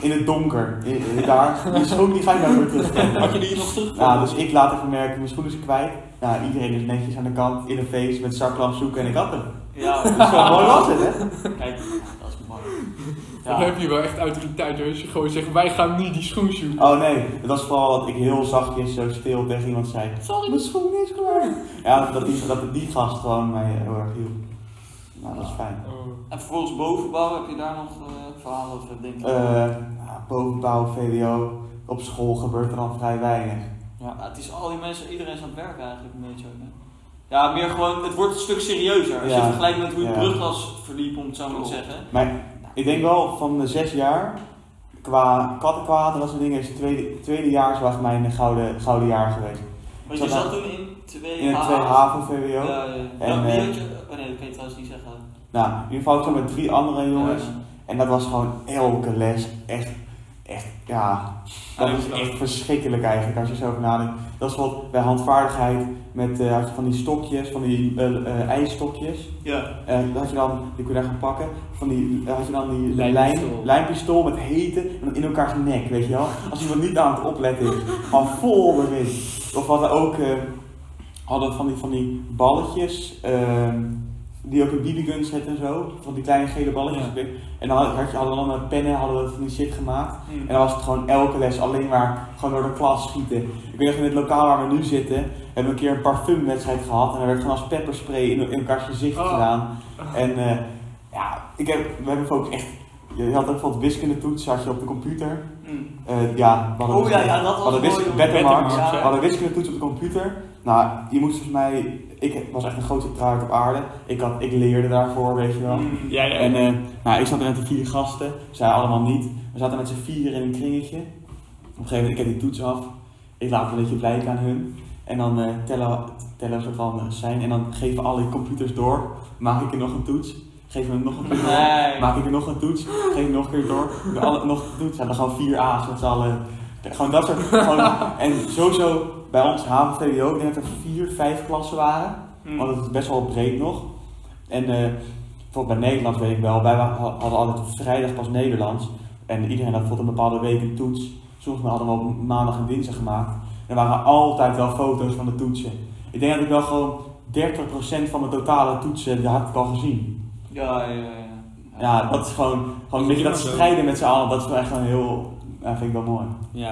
A: in het donker, in, in- daar. Die schoen die ga je nooit meer
C: Had je
A: terugkomen.
C: die nog terug?
A: Nou, dus ik laat even merken, mijn schoen is kwijt. Nou, iedereen is netjes aan de kant, in een feest, met zaklamp zoeken en ik had hem.
D: Ja,
A: Dus zo mooi was het, hè?
D: kijk, dat is mooi.
B: Dan
D: Ja.
B: heb je wel echt autoriteit. hoor. Als je gewoon zegt, wij gaan niet die schoen zoeken.
A: Oh nee, het was vooral dat ik heel zachtjes zo stil tegen iemand zei. Sorry, mijn schoen is klaar. Ja, dat die, dat die gast gewoon mij heel erg hielp. Nou, dat is fijn.
B: Oh.
D: En vervolgens bovenbouw, heb je daar nog eh, verhalen over, denk ik?
A: Eh, nou, bovenbouw, VWO, op school gebeurt er dan vrij weinig.
D: Ja, het is al die mensen, iedereen is aan het werk eigenlijk een beetje ook, hè? Ja, meer gewoon, het wordt een stuk serieuzer. Als
A: Ja.
D: je vergelijkt met hoe het
A: Ja.
D: brugklas verliep, om het zo maar te zeggen.
A: Ik denk wel van de zes jaar, qua kattenkwaad en dat soort dingen, is het tweede, tweedejaars was mijn gouden, gouden jaar geweest.
D: Want
A: Zat
D: je
A: daar-
D: zat toen in 2
A: In het tweede haven VWO.
D: Ja, ja. ja.
A: En,
D: Wie
A: eh,
D: had je- oh nee, dat kan je trouwens niet zeggen.
A: Nou, in ieder geval ik zat met drie andere jongens.
D: Ja.
A: En dat was gewoon elke les echt, echt, ja. Dat
B: Ja,
A: is
B: dat-
A: echt verschrikkelijk eigenlijk als je zo over nadenkt. Dat is wat bij handvaardigheid met eh, had je van die stokjes, van die eh, eh, ijsstokjes.
D: Ja.
A: En had je dan, die kon je daar gaan pakken, van die, eh, had je dan die lijn,
C: Lijnpistool.
A: lijnpistool met hete en dan in elkaars nek, weet je wel. Als iemand niet aan het opletten is, maar vol erin. Of wat we ook eh, hadden van die, van die balletjes, ehm, die ook in BB-guns zetten en zo. Van die kleine gele balletjes. En dan had, had je, hadden we dan met pennen hadden we van die shit gemaakt.
D: Hm.
A: En dan was het gewoon elke les alleen maar gewoon door de klas schieten. Ik weet nog in het lokaal waar we nu zitten, hebben we een keer een parfumwedstrijd gehad. En er werd gewoon als pepperspray in, in elkaars gezicht
B: Oh.
A: gedaan. En eh, ja, ik heb, we hebben ook echt... Je had ook van wiskundetoets had je op de computer.
D: Hm.
A: Eh, ja, we hadden
D: Oh ja, ja, dat
A: we
D: was
A: hadden
D: mooi,
A: wis-
D: jongen.
A: Bettermarks.
D: Bettermarks,
A: We
D: ja.
A: hadden wiskundetoets op de computer. Nou, je moest volgens mij... Ik was echt een grote truik op aarde. Ik, had, ik leerde daarvoor, weet je wel.
D: Hm.
B: Ja, ja.
A: En eh, nou, ik zat er met de vier gasten, zij allemaal niet. We zaten met z'n vier in een kringetje. Op een gegeven moment, ik heb die toets af. Ik laat een beetje blijk aan hun. En dan eh, tellen, we- tellen we soort van eh, zijn. En dan geven we alle computers door. Maak ik er nog een toets. Geef hem nog een keer door.
D: Nee.
A: Maak ik er nog een toets. Geef hem nog een keer door. Doe alle, nog een toets. Ja, dan gewoon vier A's met z'n allen. Gewoon dat soort. Gewoon, en sowieso bij ons HVTWO, ik denk dat er vier, vijf klassen waren.
D: Hm.
A: Want het is best wel breed nog. En eh, bijvoorbeeld bij Nederlands weet ik wel, wij wa- hadden altijd op vrijdag pas Nederlands. En iedereen had bijvoorbeeld een bepaalde week een toets. Soms hadden we op maandag en dinsdag gemaakt. En er waren altijd wel foto's van de toetsen. Ik denk dat ik wel gewoon 30% van mijn totale toetsen, die had ik al gezien.
D: Ja, ja, ja, ja.
A: Ja, dat is gewoon, gewoon een beetje dat strijden met z'n allen, dat is wel echt wel heel, ja, vind ik wel mooi.
C: Ja.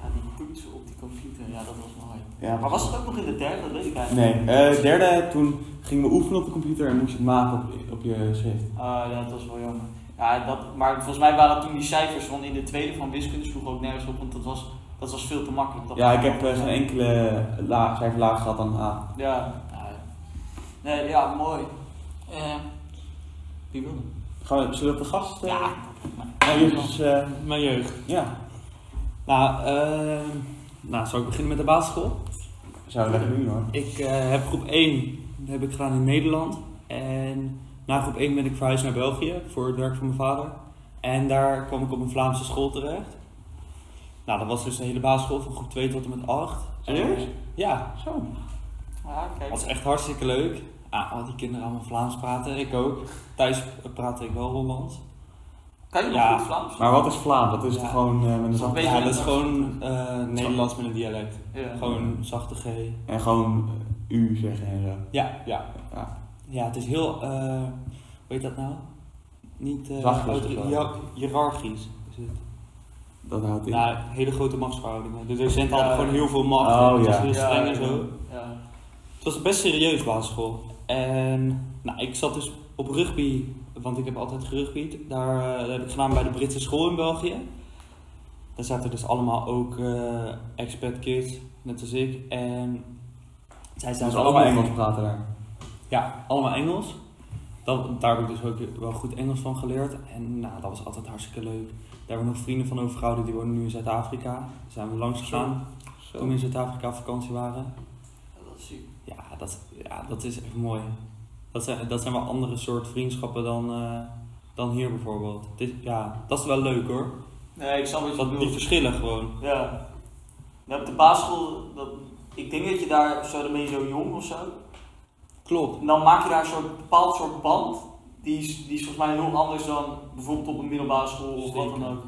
D: Ja, die toetsen op die computer, ja, dat was mooi.
A: Ja.
D: Maar was het ook nog in de derde? Dat weet ik eigenlijk
A: Nee, eh, derde, toen gingen we oefenen op de computer en moest je het maken op, op je schrift.
D: niet. Ah, ja, dat was wel jammer. Ja, dat, maar volgens mij waren toen die cijfers van in de tweede van wiskunde sloeg ook nergens op, want dat was, dat was veel te makkelijk. Dat
A: Ja, ik heb eh, geen enkele laag, cijfer laag gehad dan A.
D: Ja. ja. Nee, ja, mooi. Eh, wie wil hem?
A: Gaan we, zullen we op de gast? eh?
D: Ja,
A: Maar dit is, eh,
C: Mijn jeugd.
A: ja,
C: Nou, eh, nou, zal ik beginnen met de basisschool?
A: zou ik lekker doen hoor.
C: Ik eh, heb groep 1 heb ik gedaan in Nederland. En na groep 1 ben ik verhuisd naar België voor het werk van mijn vader. En daar kwam ik op een Vlaamse school terecht. Nou, dat was dus de hele basisschool van groep 2 tot en met 8.
A: Serieus?
C: Ja,
A: Zo.
D: Ja, kijk.
C: was echt hartstikke leuk. Ah, al die kinderen allemaal Vlaams praten, ik ook. Thuis praatte ik wel Hollands.
D: Kan je nog
C: Ja.
D: goed Vlaams?
A: Maar wat is Vlaam? Dat is
C: Ja.
A: toch gewoon eh, met een zachte
D: Weet
A: H
D: je-
C: Ja, dat is gewoon eh, Nederlands met een dialect.
D: Ja.
C: Gewoon zachte G.
A: en gewoon eh, u zeggen en zo.
C: Ja, ja.
A: Ja.
C: Ja, het is heel, eh, hoe heet dat nou? Niet eh,
A: Zachtjes
C: autori-
A: of zo.
C: ja, hiërarchisch. Is het.
A: Dat houdt in.
C: Nou, hele grote machtsverhoudingen. De docenten
D: Ja.
C: hadden gewoon heel veel macht.
A: Oh,
C: en het was
A: ja.
C: heel
D: Ja,
C: streng en
D: ja.
C: zo.
D: Ja.
C: Het was best serieus basisschool. En nou, ik zat dus op rugby, want ik heb altijd gerugbied. Daar eh, dat heb ik gedaan bij de Britse school in België. Daar zaten dus allemaal ook eh expat kids, net als ik. En zij zijn
A: dus
C: dus
A: allemaal
C: allemaal
A: Engels praten daar.
C: ja, allemaal Engels. Dat, daar heb ik dus ook wel goed Engels van geleerd. En nou, dat was altijd hartstikke leuk. Daar hebben we nog vrienden van overgehouden, die wonen nu in Zuid-Afrika. Daar zijn we langs gegaan toen we in Zuid-Afrika op vakantie waren.
D: Dat is super.
C: Ja, dat, ja, dat is echt mooi. Dat zijn, dat zijn wel andere soort vriendschappen dan, eh, dan hier bijvoorbeeld. Dit, ja, dat is wel leuk hoor.
D: Nee, ik snap wat je
C: Dat, die
D: bedoelt.
C: verschillen gewoon.
D: Ja. Nou, op de basisschool, dat, ik denk dat je daar, of zo, dan ben je zo jong of zo.
C: Klopt.
D: En dan maak je daar een soort, bepaald soort band. Die is, die is volgens mij heel anders dan bijvoorbeeld op een middelbare school of wat dan
C: Zeker.
D: ook.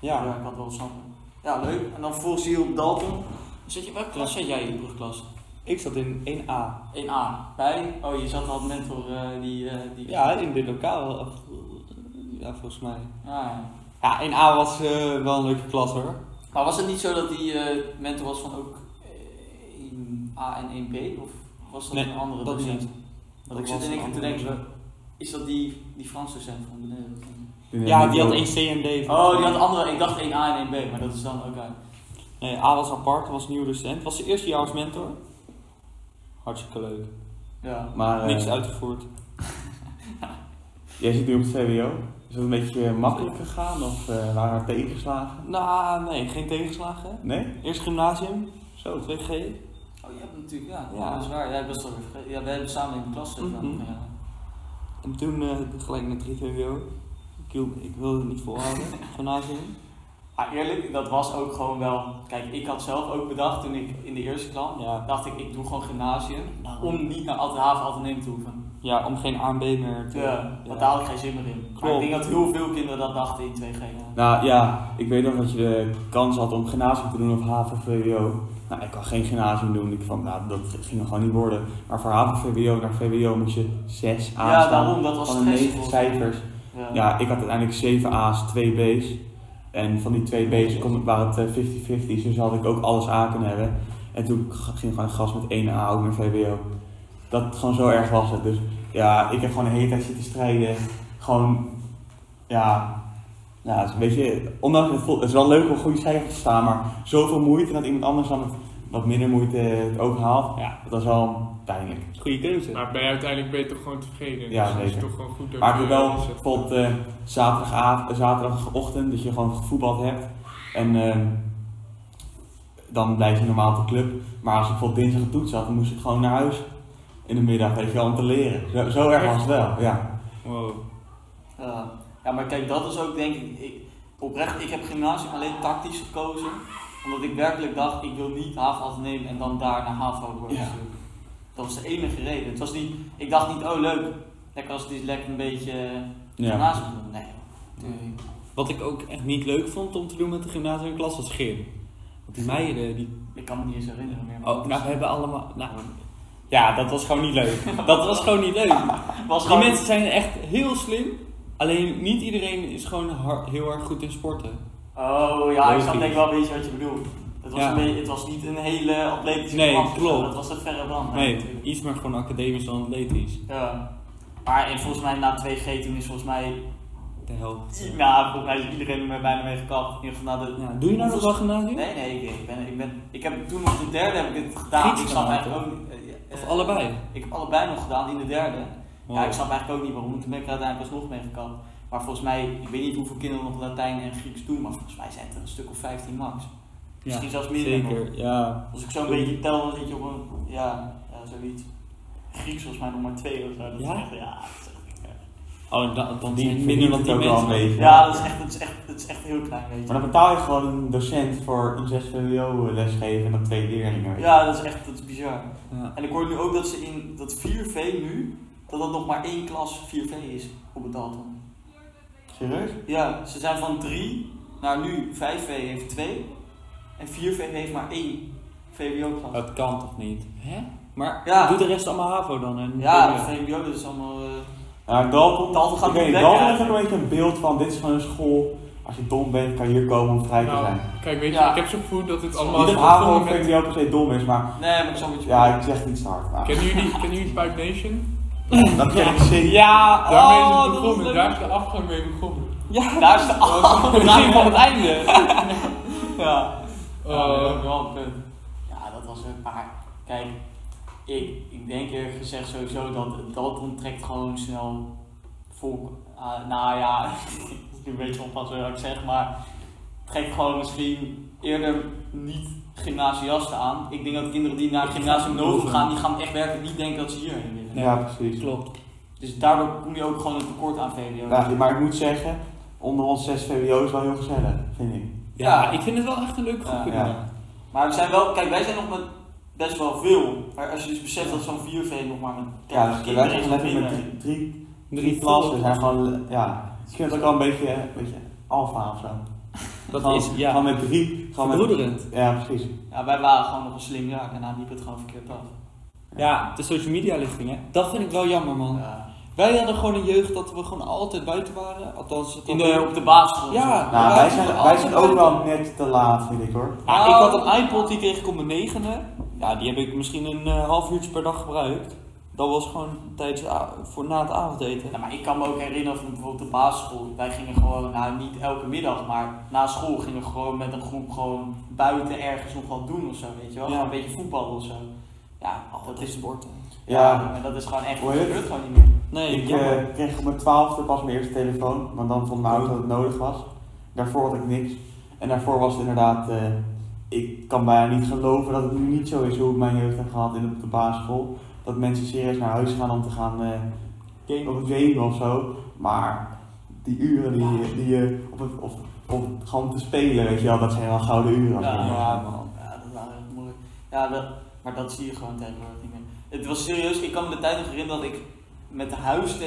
C: Ja.
D: ik had wel snappen. Ja, leuk. En dan volgens hier op Dalton. Zit je, welke klas zat jij in de brugklas?
C: Ik zat in 1A.
D: 1A. Bij? Oh, je zat al net voor eh, die, eh, die...
C: Ja, in dit lokaal. of- Ja, volgens mij.
D: Ah.
C: Ja, 1A was eh, wel een leuke klas hoor.
D: Maar was het niet zo dat die eh, mentor was van ook eh, 1A en 1B? Of was dat
C: Nee,
D: een andere
C: dat
D: docent?
C: niet.
D: Want
C: Dat
D: ik zit
C: was
D: in
C: een
D: één keer te
C: andere
D: denken, is dat die, die Frans docent van beneden?
C: Ja, die had 1C en D.
D: Oh, die had andere, ik dacht 1A en 1B, maar dat is dan ook uit.
C: Nee, A was apart, was nieuw docent. Was de eerste jaar als mentor. Hartstikke leuk.
D: Ja.
A: Maar eh,
C: Niks uitgevoerd.
A: jij zit nu op het VWO. Is dat een beetje eh, makkelijk gegaan of eh, waren er tegenslagen?
C: Nou, nee, geen tegenslagen.
A: Nee?
C: Eerst gymnasium,
A: Zo.
C: 2G.
D: Oh, je hebt natuurlijk, ja,
C: Ja.
D: dat is waar. Jij best wel weer vergeten. Ja, wij hebben samen in de klas zitten.
C: Mhm.
D: ja.
C: En toen eh, gelijk naar 3 VWO. Ik, wil- ik wilde het niet volhouden, gymnasium.
D: Maar eerlijk, dat was ook gewoon wel. Kijk, ik had zelf ook bedacht toen ik in de eerste klas
C: Ja.
D: dacht ik, ik doe gewoon gymnasium. Om niet naar Altenhaven, Alteneem te hoeven.
C: ja, om geen A en B meer te
D: Ja, want daar had ik geen zin meer in. Maar ik
C: Klopt.
D: denk dat heel veel kinderen dat dachten in 2G. ja.
A: Nou ja, ik weet nog dat je de kans had om gymnasium te doen of HAVO-VWO. Nou, ik kan geen gymnasium doen. Ik van, nou, dat ging er gewoon niet worden. Maar voor HAVO-VWO naar VWO moet je 6 A's
D: Ja,
A: staan
D: daarom, dat was
A: van de 9
D: stressvol.
A: cijfers.
D: Ja.
A: Ja, ik had uiteindelijk 7 A's, 2 B's. En van die 2 B's kon, waren het eh, 50-50, dus had ik ook alles A kunnen hebben. En toen g- ging gewoon een gast met 1 A ook naar VWO. Dat gewoon zo erg was het. Dus ja, ik heb gewoon de hele tijd zitten strijden. Gewoon, ja. Ja, het is een beetje, ondanks het, voelt- het is wel leuk om goede cijfers te staan, maar zoveel moeite dat iemand anders dan met wat minder moeite het ook haalt,
C: Ja.
A: dat is wel pijnlijk.
C: Goede keuze.
B: Maar ben je uiteindelijk beter gewoon tevreden.
A: Ja,
B: dus het is
A: zeker.
B: toch gewoon goed dat
A: Maar ik
B: je
A: heb wel
B: inzet.
A: bijvoorbeeld eh, zaterdagav- eh, zaterdagochtend dat je gewoon gevoetbald hebt. En ehm, dan blijf je normaal op de club. Maar als ik bijvoorbeeld dinsdag een toets had, dan moest ik gewoon naar huis in de middag, weet je wel, om te leren. Zo, zo erg was het wel, ja.
C: Wow.
D: Ja. Ehm, ja, maar kijk, dat is ook denk ik, ik oprecht, ik heb gymnasium alleen tactisch gekozen. Omdat ik werkelijk dacht, ik wil niet HAVO nemen en dan daar naar HAVO worden
A: Ja.
D: gestuurd. Dat was de enige reden. Het was niet, ik dacht niet, oh leuk, lekker als het is lekker een beetje eh,
A: ja.
D: gymnasium doen. Nee, nee.
C: Wat ik ook echt niet leuk vond om te doen met de gymnasiumklas was gym. Want die meiden, die
D: ik kan me niet eens herinneren meer. maar
C: Oh, nou, we hebben allemaal. Nou, ja, dat was gewoon niet leuk. Dat was gewoon niet leuk.
D: het was
C: Die
D: gewoon,
C: mensen zijn echt heel slim. Alleen niet iedereen is gewoon har- heel erg goed in sporten.
D: Oh ja, ik snap
C: Logisch.
D: denk ik wel een beetje wat je bedoelt. Het was,
C: Ja.
D: een beetje, het was niet een hele atletische
C: Nee,
D: klas of zo.
C: klopt.
D: Dat was het verre brand.
C: Nee, iets meer gewoon academisch dan atletisch.
D: Ja. Maar en volgens mij na 2G toen is volgens mij
C: De helft.
D: Nou, volgens mij is iedereen er bijna mee gekapt. In ieder geval na de...
C: Ja, doe je nou nog wel gymnasium?
D: Nee, nee, ik, ik, ben, ik, ben, ik heb toen nog de derde heb ik het gedaan.
C: Grieks
D: ik snap
C: gedaan,
D: eigenlijk ook niet... eh,
C: Of
D: eh,
C: allebei? Oh.
D: Ik heb allebei nog gedaan in de derde.
C: Wow.
D: Ja, ik snap eigenlijk ook niet waarom. Toen ben ik er uiteindelijk alsnog mee gekapt. Maar volgens mij, ik weet niet hoeveel kinderen nog Latijn en Grieks doen, maar volgens mij zijn het er een stuk of 15 max. Misschien zelfs meer. denk ik.
C: Zeker, ja.
D: Als ik zo'n beetje tel, dan zit je op een, ja, ja zoiets. Grieks volgens mij nog maar twee of zo. Dat
C: Ja?
D: Is echt, ja, dat is echt-
C: Oh, dan, dan
A: Die
C: zijn het
A: verdient
C: minder dan
A: het
C: die
A: ook wel
C: mensen.
A: een beetje.
D: ja, dat is echt, dat is echt, dat is echt heel klein, weet je.
A: Maar dan betaal je gewoon een docent voor een 6 VWO lesgeven en dan twee leerlingen. weet je.
D: Ja, dat is echt, dat is bizar.
C: Ja.
D: En ik hoor nu ook dat ze in dat 4V nu, dat dat nog maar één klas 4V is op het Dalton.
A: Serieus?
D: Ja, ze zijn van 3 naar nu 5V heeft 2 en 4V heeft maar één VWO-klas.
C: Dat kan toch niet? Hè? Maar
D: Ja.
C: doe de rest allemaal HAVO dan. En
D: Ja, dat VWO dat is allemaal. eh,
A: Ja, Dalton,
D: Dalton gaat
A: ik weet
D: niet
A: niet,
D: weg,
A: Dalton
D: ja.
A: heeft ook een beetje een beeld van dit is gewoon een school. Als je dom bent, kan je hier komen om vrij te
B: Nou,
A: zijn.
B: kijk, weet je,
D: Ja.
B: ik heb zo'n gevoel dat dit allemaal
A: Niet
B: is
A: dat HAVO of
B: begonnen met...
A: VWO per se dom is, maar
D: nee, maar ik zal het je
A: ja, ik zeg niet zo hard. maar-
B: Kennen jullie, kennen jullie Pipe Nation?
A: Dat ken ik zeker.
C: Ja,
B: Daarmee is
C: oh,
B: het
C: dat is
B: begonnen,
C: leuk.
B: daar is de afgang mee begonnen.
C: Ja,
D: Daar is de
C: het begin van het einde.
D: Ja.
A: Ehm,
B: Eh,
D: Ja, dat was een paar. Kijk, ik, ik denk eerlijk gezegd sowieso dat Dalton trekt gewoon snel volk. Ah, nou ja, het is nu een beetje oppassen wat ik zeg, maar trekt gewoon misschien eerder niet gymnasiasten aan. Ik denk dat kinderen die naar het gymnasium Novum gaan, die gaan echt werkelijk niet denken dat ze hierheen willen.
A: Ja, precies.
C: Klopt.
D: Dus daardoor kom je ook gewoon een tekort aan VWO.
A: Ja, maar ik moet zeggen, onder ons 6 VWO is wel heel gezellig, vind ik.
C: Ja, ik vind het wel echt een leuke groep.
D: Ja,
A: ja.
C: inderdaad.
D: Maar we zijn wel, kijk, wij zijn nog met best wel veel. Maar als je dus beseft dat zo'n 4V nog maar met
A: Ja,
D: 30
A: dus wij
D: kinderen
A: zijn
D: is,
A: gewoon
D: of
A: lekker met
D: minder.
A: drie, drie,
C: Drie
A: drie klassen. zijn gewoon, ja, ik vind het ook wel een beetje, een beetje alfa of zo.
C: Dat
A: Gewoon-
C: is, ja,
A: Gewoon met drie. Gewoon met,
C: verbroederend.
A: ja, precies.
D: Ja, wij waren gewoon nog een slim jaar en daar liep het gewoon verkeerd af.
C: Ja, de social media lichting, hè. Dat vind ik wel jammer, man.
D: Ja.
C: Wij hadden gewoon een jeugd dat we gewoon altijd buiten waren. Althans, dat
D: In
C: hadden
D: de,
C: we-
D: op de basisschool.
C: Ja.
A: Nou, wij zijn, wij zijn ook wel
C: altijd-
A: net te laat, vind ik hoor.
C: Ja,
D: Oh.
C: Nou, ik had een iPod, die kreeg ik op mijn negende. Ja, die heb ik misschien een eh, half uurtje per dag gebruikt. Dat was gewoon tijdens de a- voor na het avondeten.
D: Ja, nou, maar ik kan me ook herinneren van bijvoorbeeld de basisschool. Wij gingen gewoon, nou niet elke middag, maar na school gingen we gewoon met een groep gewoon buiten ergens nog wat doen of zo, weet je wel.
C: Ja.
D: Gewoon een beetje voetballen of zo. Ja, dat is
C: sporten.
A: Ja,
D: maar dat is gewoon echt,
A: Hoor
D: dat
A: je het?
D: gebeurt gewoon niet meer.
C: Nee,
A: ik
C: jammer.
A: eh, kreeg op mijn twaalfde pas mijn eerste telefoon, want dan vond mijn auto dat het nodig was. Daarvoor had ik niks. En daarvoor was het inderdaad, eh, ik kan bijna niet geloven dat het nu niet zo is hoe ik mijn jeugd heb gehad in, op de basisschool. Dat mensen serieus naar huis gaan om te gaan eh,
C: Game.
A: op het gamen of zo. Maar die uren die, je- die je op het, of, of gewoon te spelen, weet je wel, dat zijn wel gouden uren. als
D: Ja,
A: je-
C: Ja, man.
D: Ja, dat waren echt mooi. Ja, wel, maar dat zie je gewoon tegenwoordig niet meer. Het was serieus, ik kan me de tijd nog herinneren dat ik met de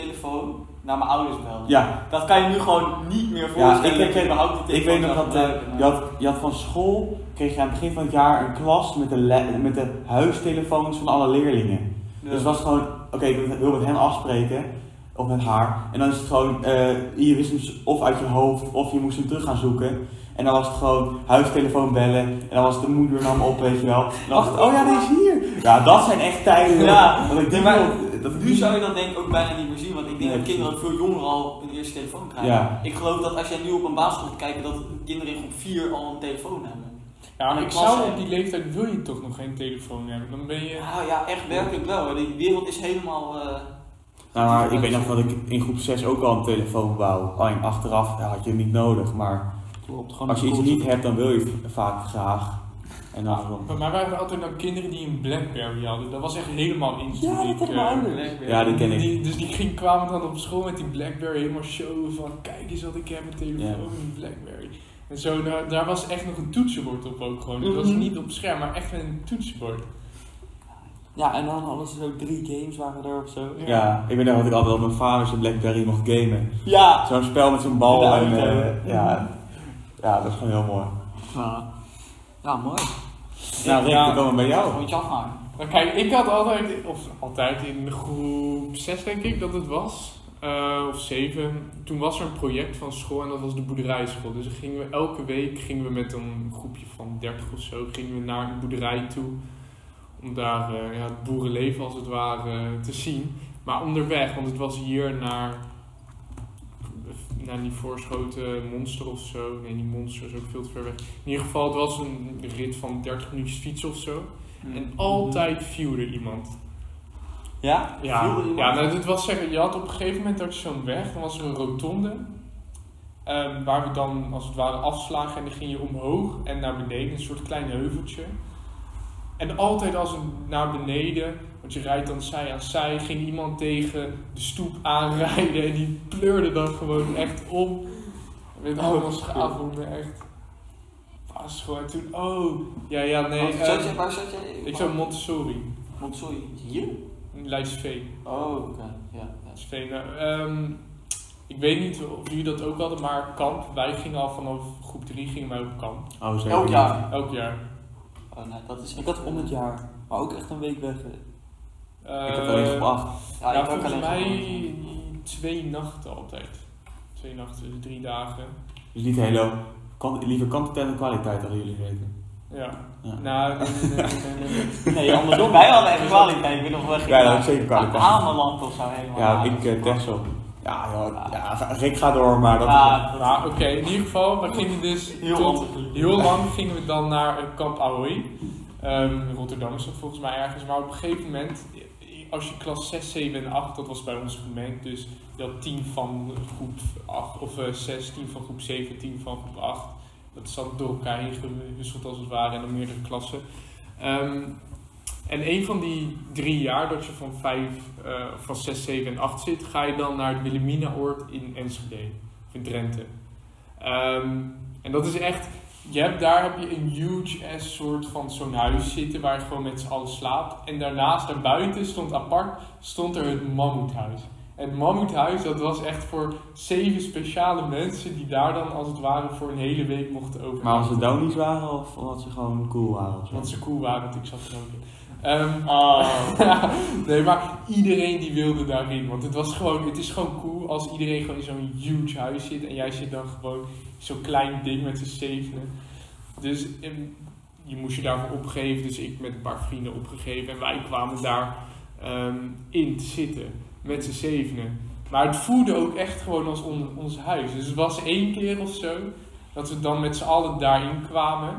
D: huistelefoon naar mijn ouders belde.
A: ja,
D: Dat kan je nu gewoon niet meer
A: Ja,
D: voorstellen.
A: ik- ik-
D: je überhaupt die
A: Ik
D: telefoon
A: weet nog
D: zou
A: dat eh,
D: gebruiken, maar-
A: je, had, je had van school, kreeg je aan het begin van het jaar een klas met de, le- met de huistelefoons van alle leerlingen.
D: Ja.
A: Dus het was gewoon, oké, ik wil met hem afspreken, of met haar. En dan is het gewoon, eh, je wist hem s- of uit je hoofd, of je moest hem terug gaan zoeken. En dan was het gewoon huistelefoon bellen, en dan was de moeder nam op, weet je wel. En dan was het, oh ja, die is hier. Ja, dat zijn echt tijden.
D: Ja,
A: dat ik oh, die
D: nee, maar
A: wil- dat ik
D: Nu
A: die-
D: zou je dat denk ik ook bijna niet meer zien, want ik denk
A: Nee,
D: dat kinderen ook veel jonger al een eerste telefoon krijgen.
A: Ja.
D: Ik geloof dat als jij nu op een basisschool gaat kijken, dat kinderen in groep 4 al een telefoon hebben.
B: Ja, maar
D: Ik
B: ik
D: was,
B: zou
D: eh,
B: op die leeftijd wil je toch nog geen telefoon hebben. Dan ben je...
D: Ja, ja echt werkelijk wel. hè. Die wereld is helemaal... eh,
A: Nou, maar ik weet nog dat ik in groep 6 ook al een telefoon wou. Alleen achteraf ja, had je hem niet nodig, maar...
C: Klopt, gewoon
A: Als je
C: een
A: iets
C: cool-
A: niet hebt, dan wil je het vaak graag. En daarom.
B: Bij mij waren er altijd nou kinderen die een Blackberry hadden. Dat was echt helemaal instant.
C: Ja, dat had
B: eh,
C: mijn ouders.
D: Blackberry.
A: Ja, die ken ik.
B: Die- dus die ging, kwamen dan op school met die Blackberry helemaal showen van kijk eens wat ik heb, een telefoon, een Blackberry. En zo, nou, daar was echt nog een toetsenbord op ook gewoon. Dat was
C: Mhm.
B: niet op scherm, maar echt een toetsenbord.
C: Ja, en dan hadden ze zo drie games waren er of zo.
B: Ja.
A: Ja, ik weet nog dat ik altijd op mijn vader zijn Blackberry mocht gamen.
C: Ja!
A: Zo'n spel met zo'n bal.
C: Ja,
A: en,
C: ja.
A: eh, ja, ja, dat is gewoon heel mooi.
C: Ja, mooi.
A: Nou, Rick,
B: ja.
A: we komen bij jou.
D: Moet je afmaken.
B: Maar Nou, kijk, ik had altijd, of altijd in groep 6 denk ik dat het was, eh, of 7. Toen was er een project van school en dat was de boerderijschool. Dus dan gingen we elke week gingen we met een groepje van 30 of zo gingen we naar een boerderij toe. Om daar eh, ja, het boerenleven als het ware eh, te zien. Maar onderweg, want het was hier naar, naar die voorschoten monster of zo. Nee, die monster is ook veel te ver weg. In ieder geval, het was een rit van 30 minuutjes fietsen of zo. En altijd viewde iemand.
C: Ja?
B: Ja,
D: Viel er iemand?
B: ja nou, dit was zeggen, je had op een gegeven moment ook zo'n weg, dan was er een rotonde. ehm, waar we dan als het ware afslagen en dan ging je omhoog en naar beneden, een soort klein heuveltje. En altijd als een naar beneden, want je rijdt dan zij aan zij, ging iemand tegen de stoep aanrijden en die pleurde dan gewoon echt om. Met allemaal
D: Oh,
B: schaafhonden, echt. Was gewoon toen, oh, ja, ja, nee.
D: Waar zat je?
B: ehm,
D: Waar zat je?
B: ik zou Montessori,
D: Want sorry, hier?
B: Leidse
D: Oh, oké. Ja, ja.
B: dat is fijn. Nou, ehm, ik weet niet of jullie dat ook hadden, maar kamp, wij gingen al vanaf groep 3 gingen wij op kamp.
A: Oh, zeker.
D: Elk
A: niet.
D: jaar.
B: Elk jaar.
D: Oh, nee, dat is
C: Ik had om het jaar, maar ook echt een week weg.
A: Ik had alleen
B: Eh,
A: groep 8.
D: Ja,
B: ja,
D: ik ook
B: volgens mij
D: alleen gehoord.
B: twee nachten altijd. Twee nachten, dus drie dagen.
A: Dus niet heel kan, Liever kwantiteit dan kwaliteit, hadden jullie weten.
B: Ja.
A: Ja.
B: Nou, nee, nee, nee, nee, nee.
C: Nee, andersom.
D: Wij hadden echt kwaliteit, ik ben nog wel
A: Ja, dat is zeker kwaliteit.
D: Ameland of zo helemaal.
A: Ja, ik eh Texel. Ja, joh, ja, Rick gaat door, maar dat is...
D: Ja,
B: Maar oké, in ieder geval, we gingen dus
D: Heel
B: tot-
D: handig.
B: heel lang gingen we dan naar eh, kamp Ahoy. Ehm, in Rotterdam is dat volgens mij ergens. Maar op een gegeven moment, eh, als je klas 6, 7 en 8, dat was bij ons gemengd. Dus je had 10 van groep 8, of eh 6, 10 van groep 7, 10 van groep 8. Dat zat door elkaar heen gewisseld als het ware en dan meerdere klassen. Ehm, en een van die drie jaar dat je van, vijf, eh, van 6, 7 en 8 zit, ga je dan naar het Wilhelminaoord in Enschede, of in Drenthe. Ehm, en dat is echt, je hebt, daar heb je een huge ass soort van zo'n huis zitten waar je gewoon met z'n allen slaapt. En daarnaast, daarbuiten, stond apart, stond er het mammoethuis. En het mammoethuis, dat was echt voor zeven speciale mensen die daar dan als het ware voor een hele week mochten overnachten.
A: Maar als ze downies waren of omdat ze gewoon cool waren of zo?
B: Want ze cool waren, want ik zat er ook in. Ehm,
D: Oh.
B: nee, maar iedereen die wilde daarin. Want het, was gewoon, het is gewoon cool als iedereen gewoon in zo'n huge huis zit. En jij zit dan gewoon in zo'n klein ding met z'n zevenen. Dus ehm, je moest je daarvoor opgeven. Dus ik met een paar vrienden opgegeven. En wij kwamen daar ehm, in te zitten. Met z'n zevenen. Maar het voelde ook echt gewoon als on- ons huis. Dus het was één keer of zo. Dat we dan met z'n allen daarin kwamen.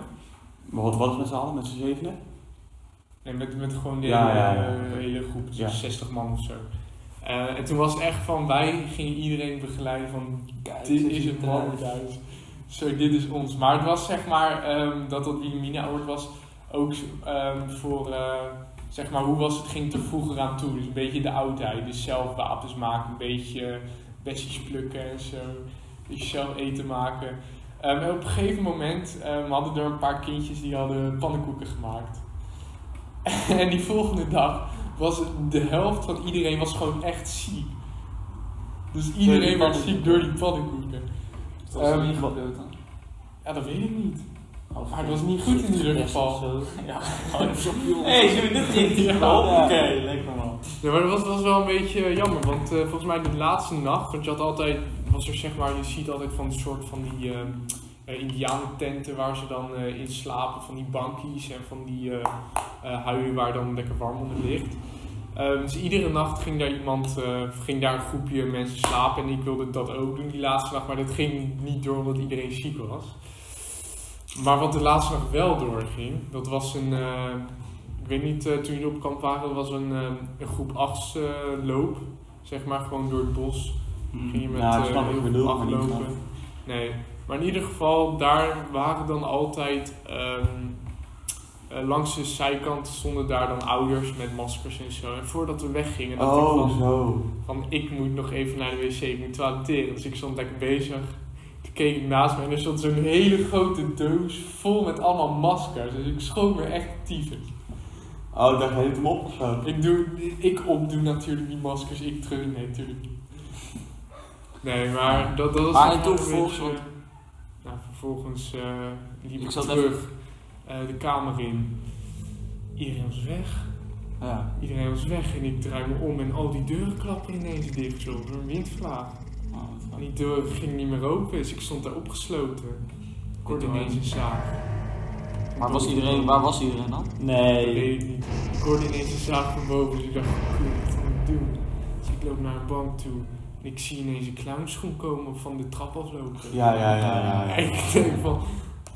A: Maar wat was het met z'n allen, met z'n zevenen?
B: Nee, met, met gewoon de
A: Ja,
B: hele,
A: ja, ja.
B: eh, hele groep, dus
A: Ja.
B: 60 man of zo. Eh, en toen was het echt van, wij gingen iedereen begeleiden van,
C: Kijk,
B: dit
C: zo
B: is
C: ziet
B: het
C: het eruit.
B: mannenhuis. Zo, dit is ons. Maar het was zeg maar, ehm, dat dat Wilhelmina Award was ook ehm, voor, eh, zeg maar, hoe was het, ging het er vroeger aan toe. Dus een beetje de oudheid, dus zelf wapens maken, een beetje bessies plukken en zo. Dus zelf eten maken. Ehm, en op een gegeven moment ehm, hadden er een paar kindjes die hadden pannenkoeken gemaakt. en die volgende dag was het- de helft van iedereen was gewoon echt ziek. Dus iedereen was
D: pannenkoeken.
B: ziek door die pannenkoeken.
D: Dat was
B: Ehm,
D: niet gebeurd dan.
B: Ja, dat weet ik niet. Maar het was niet goed in ieder geval.
D: Ja.
C: Hey,
D: Hé, zullen we dit geen diep
B: Ja.
D: Oké, lekker man.
B: Ja, maar dat was, was wel een beetje eh, jammer, want eh, volgens mij de laatste nacht, want je had altijd, was er zeg maar, je ziet altijd van een soort van die eh eh, indianententen waar ze dan eh, in slapen, van die bankies en van die eh eh, huien waar dan lekker warm onder ligt. Ehm, dus iedere nacht ging daar iemand, eh, ging daar een groepje mensen slapen en ik wilde dat ook doen die laatste nacht, maar dat ging niet door omdat iedereen ziek was. Maar wat de laatste nacht wel doorging, dat was een, eh, ik weet niet, eh, toen jullie op kamp waren, dat was een, eh, een groep 8 loop, zeg maar, gewoon door het bos. Ging je met
A: Ja,
B: eh,
A: ik snap wat je
B: heel
A: bedoelt,
B: veel
A: maar niet
B: aflopen. Nee, maar in ieder geval, daar waren dan altijd ehm, eh, langs de zijkant stonden daar dan ouders met maskers en zo. En voordat we weggingen, dacht ik
A: Oh,
B: van,
A: zo.
B: van ik moet nog even naar de wc, ik moet toileteren. Dus ik stond lekker bezig. Toen keek ik naast me en er stond zo'n hele grote doos vol met allemaal maskers. Dus ik schoot me echt tyfus.
A: Oh, ik dacht, hij heeft hem op of zo.
B: Ik, doe, ik opdoe natuurlijk die maskers, ik terug. Nee, natuurlijk niet. Nee, maar dat, dat was...
C: Maar
B: wel
C: en toen
B: een
C: vervolgens,
B: beetje-
C: want-
B: Nou, vervolgens eh liep
C: Ik
B: ik,
C: zat
B: terug eh, de kamer in. Iedereen was weg.
C: Ja.
B: Iedereen was weg en ik draai me om en al die deuren klappen ineens dicht, joh. Door een windvlaag.
C: Oh, wat
B: En
C: grappig.
B: die deur ging niet meer open, dus ik stond daar opgesloten. Ik hoorde
C: Door.
B: ineens een zaag.
C: Maar was iedereen, waar was iedereen dan?
B: Dat
A: Nee.
B: weet ik niet. Ik hoorde ineens een zaag van boven, dus ik dacht, "Kut, wat moet ik doen? Dus ik loop naar een bank toe en ik zie ineens een clownschoen komen van de trap aflopen.
A: Ja, ja, ja, ja. ja.
B: En ik denk van,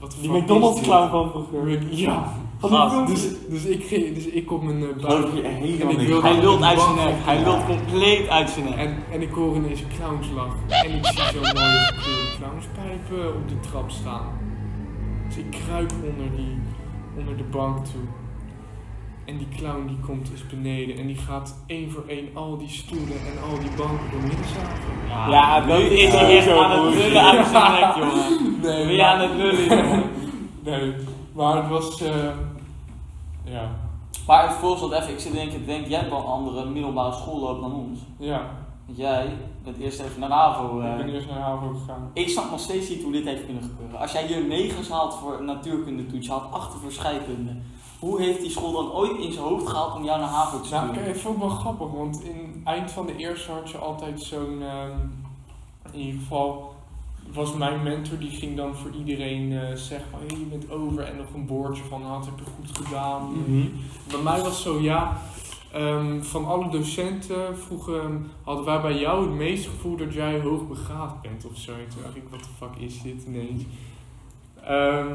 B: Wat de
A: Die
B: fuck
A: McDonald's
B: is
A: clown van
B: dit?
A: vroeger.
B: Ja,
A: Van die
D: Gast,
A: filmpjes.
B: dus, dus, ik, ging- dus ik kom een eh,
A: Geloof
B: buik
A: ik hier helemaal
B: En ik
A: niks
B: wil-
A: van.
D: Hij lult uit zijn nek. Hij lult compleet uit zijn nek.
B: en, en ik hoor ineens een clownslag. En ik zie zo'n mooie gekleurde clownspijp eh, op de trap staan. Dus ik kruip onder, die, onder de bank toe. En die clown die komt dus beneden en die gaat één voor één al die stoelen en al die banken door midden zagen.
A: Ja, dat
D: nu
A: is
D: is hij echt
A: sowieso
D: aan het
A: bullshit.
D: lullen uit zijn nek, jongen.
B: Nee,
D: Ben je aan het lullen, jongen?
B: Nee, maar het was. eh, ja.
D: Maar het voorstel even, ik zit denk ik, denk jij hebt wel een andere middelbare schoolloop dan ons.
B: Ja,
D: Want jij bent eerst even naar de AVO. eh.
B: ik ben eerst naar de HAVO gegaan.
D: Ik snap nog steeds niet hoe dit heeft kunnen gebeuren. Als jij hier 9 haalt voor een natuurkundetoets, je haalt 8 voor scheikunde. Hoe heeft die school dan ooit in zijn hoofd gehaald om jou naar HAVO te
B: Nou,
D: sturen?
B: kijk, ik vond het wel grappig, want in het eind van de eerste had je altijd zo'n. ehm, in ieder geval was mijn mentor die ging dan voor iedereen eh, zeggen: van, hey, je bent over en nog een woordje van had heb je goed gedaan.
A: Mhm.
B: Bij mij was zo ja. ehm, van alle docenten vroegen, hadden wij bij jou het meest gevoel dat jij hoogbegaafd bent of zo. En toen dacht ik, wat de fuck is dit ineens? Ehm,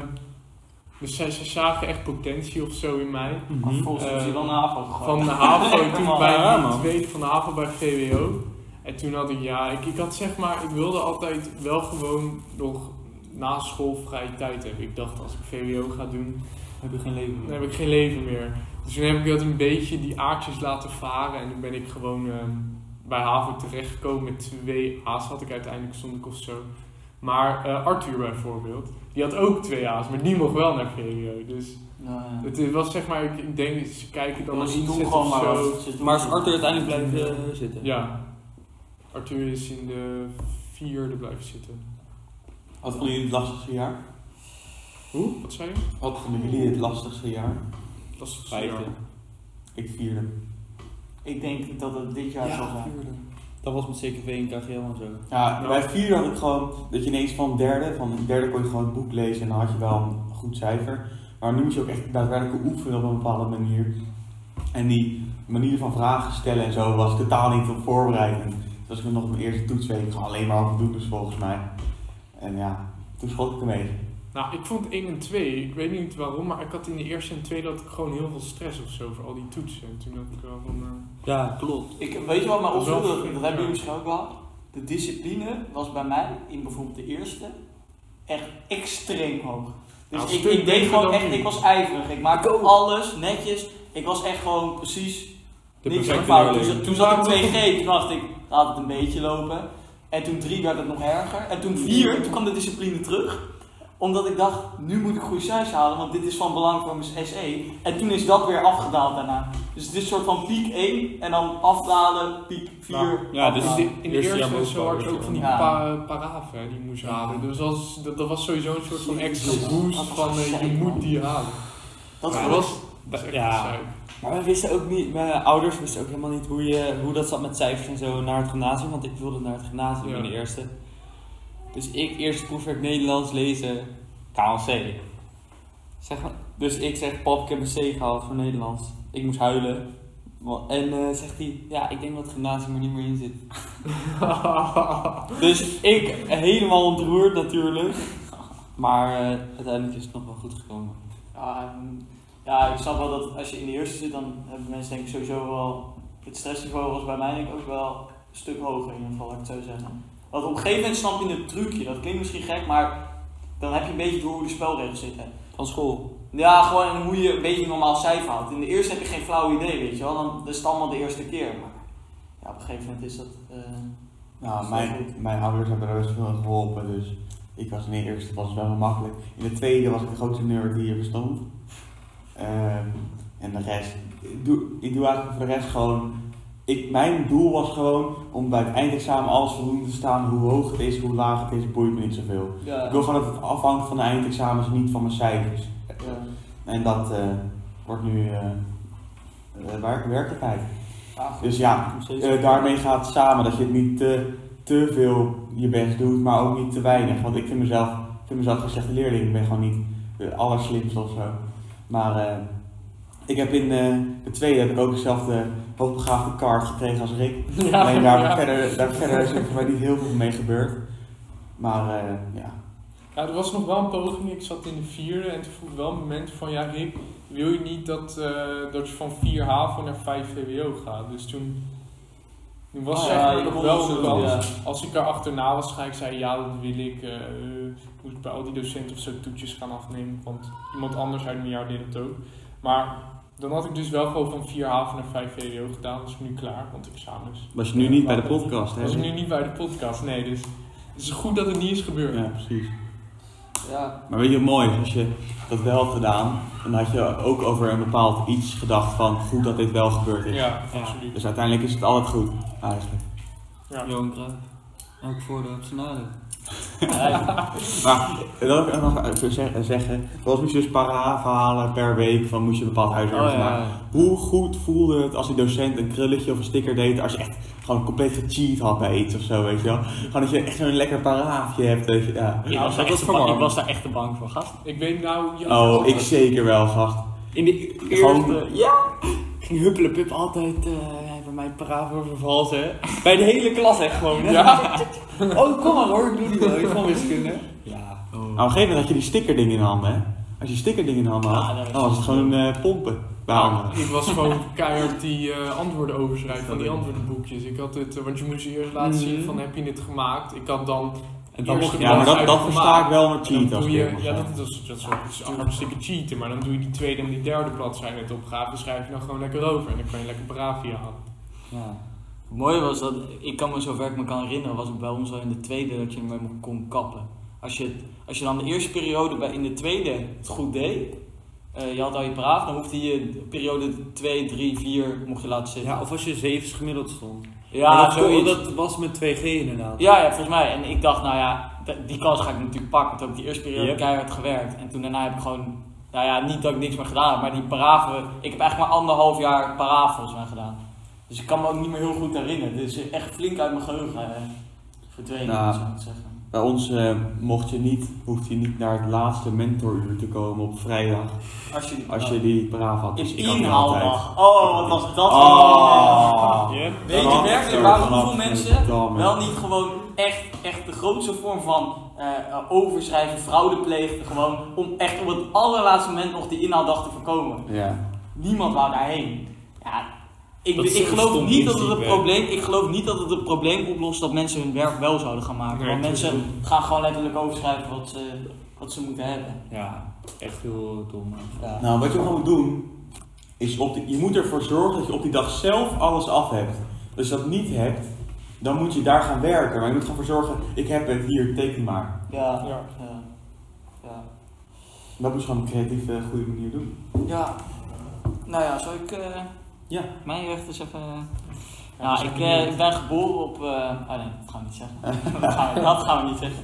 B: dus zij, zij zagen echt potentie of zo in mij.
D: Maar
A: Mhm.
D: volgens mij is hij wel
B: Eh,
D: naar HAVO gegaan.
B: Van de HAVO,
D: Lekker
B: toen
D: Oh. man.
B: bij
A: Ja,
B: de
A: man.
B: tweede van de HAVO bij VWO. En toen had ik, ja, ik, ik had zeg maar, ik wilde altijd wel gewoon nog na school vrije tijd hebben. Ik dacht, als ik VWO ga doen,
C: Heb je geen leven
B: dan
C: meer.
B: heb ik geen leven meer. Dus toen heb ik dat een beetje die aardjes laten varen. En toen ben ik gewoon eh, bij HAVO terechtgekomen. Met twee A's had ik uiteindelijk, stond ik of zo. Maar eh, Arthur bijvoorbeeld, die had ook twee A's, maar die mocht wel naar VWO. Dus
D: Nou, ja.
B: het was zeg maar, ik, ik denk, ze kijken dan
D: Maar
B: naar
D: ze
B: inzet
D: doen
B: of
D: gewoon maar
B: zo.
D: wat. Ze doen
C: Maar is
D: gewoon-
C: Arthur uiteindelijk blijven eh, zitten?
B: Ja. Arthur is in de vierde blijven zitten.
A: Wat vonden jullie het lastigste jaar?
B: Hoe? Wat zei je?
A: Wat vonden jullie het lastigste jaar?
B: Dat is
C: Vijfde.
A: Ik vierde.
D: Ik denk dat het dit jaar zal zijn.
B: vierde.
C: Dat was met CKV en KGL en zo.
A: Ja, nou, bij vier had ik gewoon dat je ineens van derde, van derde kon je gewoon het boek lezen en dan had je wel een goed cijfer. Maar nu moet je ook echt daadwerkelijk oefenen op een bepaalde manier. En die manier van vragen stellen en zo was ik totaal niet op voorbereid. En toen was ik nog mijn eerste toetsweek gewoon alleen maar aan het doen, dus volgens mij. En ja, toen schot ik ermee.
B: Nou, ik vond 1 en 2, ik weet niet waarom, maar ik had in de eerste en tweede had ik gewoon heel veel stress of zo voor al die toetsen. En toen had ik wel van. eh,
C: Ja, klopt.
D: Ik, weet je wat mij
B: Wel
D: opviel? Dat, dat
B: vervelend,
D: hebben jullie
B: ja.
D: misschien ook gehad. De discipline was bij mij in bijvoorbeeld de eerste echt extreem hoog. Dus
B: Nou, een
D: ik,
B: stuk
D: ik deed
B: beter
D: gewoon
B: dan
D: echt,
B: nu.
D: ik was ijverig. Ik maakte
C: Ik ook.
D: alles netjes. Ik was echt gewoon precies
C: De
D: niks aan
C: perfecte
D: fout.
C: leerling.
D: Toen, toen zat ik 2G, toen dacht ik, laat het een beetje lopen. En toen 3 werd het nog erger. En toen 4, toen kwam de discipline terug. Omdat ik dacht, nu moet ik goede cijfers halen, want dit is van belang voor mijn SE. En toen is dat weer afgedaald daarna. Dus het is een soort van piek 1 en dan afdalen, piek 4.
B: Nou,
C: ja, dit is
D: afdalen.
C: die-
B: in de
C: Eerste jaar
B: eerste, zo
C: bovenbouw,
B: had je ook
C: eerste
B: van die
D: jaar.
B: pa paraven hè, die je moest
D: Ja.
B: halen. Dus als, dat, dat was sowieso een soort van extra
D: Jezus,
B: boost
D: dat was
B: van eh, je
D: gezeik, man.
B: moet die halen.
D: Dat
B: Maar
D: was
B: dat is echt
C: Ja.
B: gezeik.
C: Maar we wisten ook niet, mijn ouders wisten ook helemaal niet hoe, je, hoe dat zat met cijfers en zo naar het gymnasium, want ik wilde naar het gymnasium
B: Ja.
C: in de eerste. Dus ik eerst proefwerk Nederlands lezen, KLC. Zeg maar, dus ik zeg, pap, ik heb een C gehaald voor Nederlands. Ik moest huilen. Wa- En eh, zegt hij, ja, ik denk dat het gymnasium er niet meer in zit. Dus ik helemaal ontroerd natuurlijk. Maar eh, uiteindelijk is het nog wel goed gekomen.
D: Ja, en- ja, ik snap wel dat als je in de eerste zit, dan hebben mensen denk ik sowieso wel... Het stressniveau was bij mij denk ik ook wel een stuk hoger in ieder geval, laat ik het zo zeggen. Want op een gegeven moment snap je het trucje. Dat klinkt misschien gek, maar dan heb je een beetje door hoe de spelregels zitten.
C: Van school.
D: Ja, gewoon hoe je een beetje een normaal cijfer houdt. In de eerste heb je geen flauw idee, weet je wel. Dan, dat is het allemaal de eerste keer. Maar ja, op een gegeven moment is dat... eh,
A: Nou, mijn, mijn ouders hebben er best veel aan geholpen, dus ik was in de eerste was het wel makkelijk. In de tweede was ik de grootste nerd die hier bestond. Ehm, en de rest, ik doe, ik doe eigenlijk voor de rest gewoon. Ik, mijn doel was gewoon om bij het eindexamen alles voldoende te staan. Hoe hoog het is, hoe laag het is, boeit me niet zoveel.
D: ja,
A: Ik wil gewoon dat het afhangt van de eindexamens, niet van mijn cijfers.
D: ja.
A: En dat eh, wordt nu eh eh, waar- werkelijkheid.
D: Ja, Ah, goed.
A: Dus ja,
C: Nog steeds.
A: eh, daarmee gaat samen dat je het niet te, te veel je best doet, maar ook niet te weinig. Want ik vind mezelf, ik vind mezelf een slechte leerling. Ik ben gewoon niet de allerslimste of zo. Maar eh, ik heb in eh, de tweede heb ik ook dezelfde hoogbegaafde kaart gekregen als Rick.
B: Ja,
A: Alleen daar,
B: ja.
A: Verder, daar verder is er voor mij niet heel veel mee gebeurd. Maar eh, ja,
B: Ja, er was nog wel een poging. Ik zat in de vierde en toen vroeg wel een moment van ja, Rick, wil je niet dat, eh, dat je van 4 HAVO naar 5 VWO gaat? Dus toen, toen was
D: Ah,
B: zeg
D: ja,
B: maar
D: je
B: nog
D: kon
B: wel
D: zo,
B: een kans.
D: ja.
B: Als ik er achterna was, ga ik zei ja, dat wil ik. eh, eh, moet ik bij al die docenten of zo toetjes gaan afnemen, want iemand anders uit mijn jaar deed het ook. Maar dan had ik dus wel gewoon van 4 HAVO naar 5 VWO gedaan, dus nu klaar, want examens.
A: Was je nu niet bij de podcast, hè?
B: Was ik nu niet bij de podcast, nee, dus het is goed dat het niet is gebeurd.
A: Ja, precies.
D: Ja,
A: Maar weet je wat mooi is? Als je dat wel had gedaan, dan had je ook over een bepaald iets gedacht van goed dat dit wel gebeurd is.
B: Ja, absoluut.
A: Dus uiteindelijk is het altijd goed, eigenlijk.
B: Ja.
D: Johan Cruijff. Elk voordeel heeft zijn nadeel.
A: Maar eh, dat wil ik ook nog even zeg- zeggen. Zoals moest je dus para-verhalen per week van moest je een bepaald huiswerk
B: Oh,
C: Oh
A: maken. Hoe goed voelde het als die docent een krulletje of een sticker deed als je echt gewoon compleet gecheat had bij iets of zo, weet je wel? Gewoon dat je echt zo'n lekker paraafje hebt, weet je. Ja.
C: Ik,
B: Nou, dat
C: was daar
B: was
C: echt bang, ik was daar echt te bang voor, gast.
B: Ik weet nou... ja,
A: Oh, ik zeker wel, gast.
C: In de eerste,
A: Gewoon-
C: ja, ging huppelepup altijd, eh, hij bij mij bravo vervals, hè. Bij de hele klas, echt gewoon, hè.
B: Ja,
C: Oh, kom maar hoor, ik doe die wel, ik gewoon wiskunde.
A: Ja.
C: Oh.
A: Maar op een gegeven moment had je die stickerding in de handen, hè? Als je stickerding in de handen
C: Ja,
A: had,
C: dat is-
A: dan was het gewoon eh, pompen bij anderen.
B: ik was gewoon keihard die eh, antwoorden overschrijven van die antwoordenboekjes. Ik had het, eh, want je moest je eerst
C: Mm.
B: laten zien van heb je dit gemaakt? Ik had dan...
C: En dan
B: eerst
C: mocht
B: de
C: je
A: Ja, maar dat,
B: uit
A: dat
B: gemaakt.
A: versta ik wel met
B: En dan
A: cheat als
B: doe
A: ik
B: je,
A: eerlijk mag
B: ja,
A: zijn.
B: dat, dat, is- dat is wel- dat is hartstikke cheaten, maar dan doe je die tweede en die derde bladzijde met de opgave, schrijf je dan gewoon lekker over en dan kan je lekker Bravia aan.
C: Ja.
D: Het mooie was dat, ik kan me zover ik me kan herinneren, was het bij ons al in de tweede dat je ermee mo- kon kappen. Als je, als je dan de eerste periode bij, in de tweede het goed deed, eh, je had al je braaf, dan hoefde je periode 2, 3, 4 mocht je laten zitten.
C: ja, of als je zevens gemiddeld stond.
D: Ja,
C: Maar dat, kon-
D: zoiets.
C: dat was met 2G inderdaad.
D: Ja, ja, volgens mij. En ik dacht, nou ja, d- die kans ga ik natuurlijk pakken. Want toen heb ik die eerste periode
C: Yep.
D: keihard gewerkt. En toen daarna heb ik gewoon, nou ja, niet dat ik niks meer gedaan heb, maar die paraven. Ik heb eigenlijk maar anderhalf jaar paraven volgens mij gedaan. Dus ik kan me ook niet meer heel goed herinneren. Dit is echt flink uit mijn geheugen eh, verdwenen,
A: Nou.
D: zou ik zeggen.
A: Bij ons eh, mocht je niet, hoefde je niet naar het laatste mentoruur te komen op vrijdag.
D: Als je,
A: Als je die braaf had. Dus
D: in
A: ik had die altijd. Ah.
D: inhaaldag. Oh, wat was dat?
A: Oh.
B: Ja.
D: Weet je werkelijk waarom hoeveel mensen wel niet gewoon echt, echt de grootste vorm van eh, eh, overschrijven, fraude plegen, gewoon om echt op het allerlaatste moment nog die inhaaldag te voorkomen.
A: Ja.
D: Niemand wou daarheen. Ja, ik,
C: Dat is
D: ik
C: zo'n
D: geloof
C: stom
D: niet dat het een
C: principe,
D: probleem, ik geloof niet dat het een probleem oplost dat mensen hun werk wel zouden gaan maken.
B: Nee,
D: Want mensen
B: tuurlijk
D: gaan gewoon letterlijk overschrijven wat ze, wat ze moeten hebben.
C: Ja, echt heel dom.
D: Ja.
A: Nou, wat je gewoon moet doen, is op die, je moet ervoor zorgen dat je op die dag zelf alles af hebt. Als je dat niet hebt, dan moet je daar gaan werken. Maar je moet gewoon voor zorgen, ik heb het hier, teken maar.
D: Ja.
B: Ja.
D: Ja. ja.
A: Dat moet je gewoon op een creatieve, goede manier doen.
D: Ja, nou ja, zou ik eh,
A: Ja.
D: mijn recht eens even...
B: Ja,
D: nou,
B: zeg
D: ik
B: maar
D: eh,
B: niet.
D: ik ben geboren op... eh oh nee, dat gaan we niet zeggen. dat, gaan we, dat gaan we niet zeggen.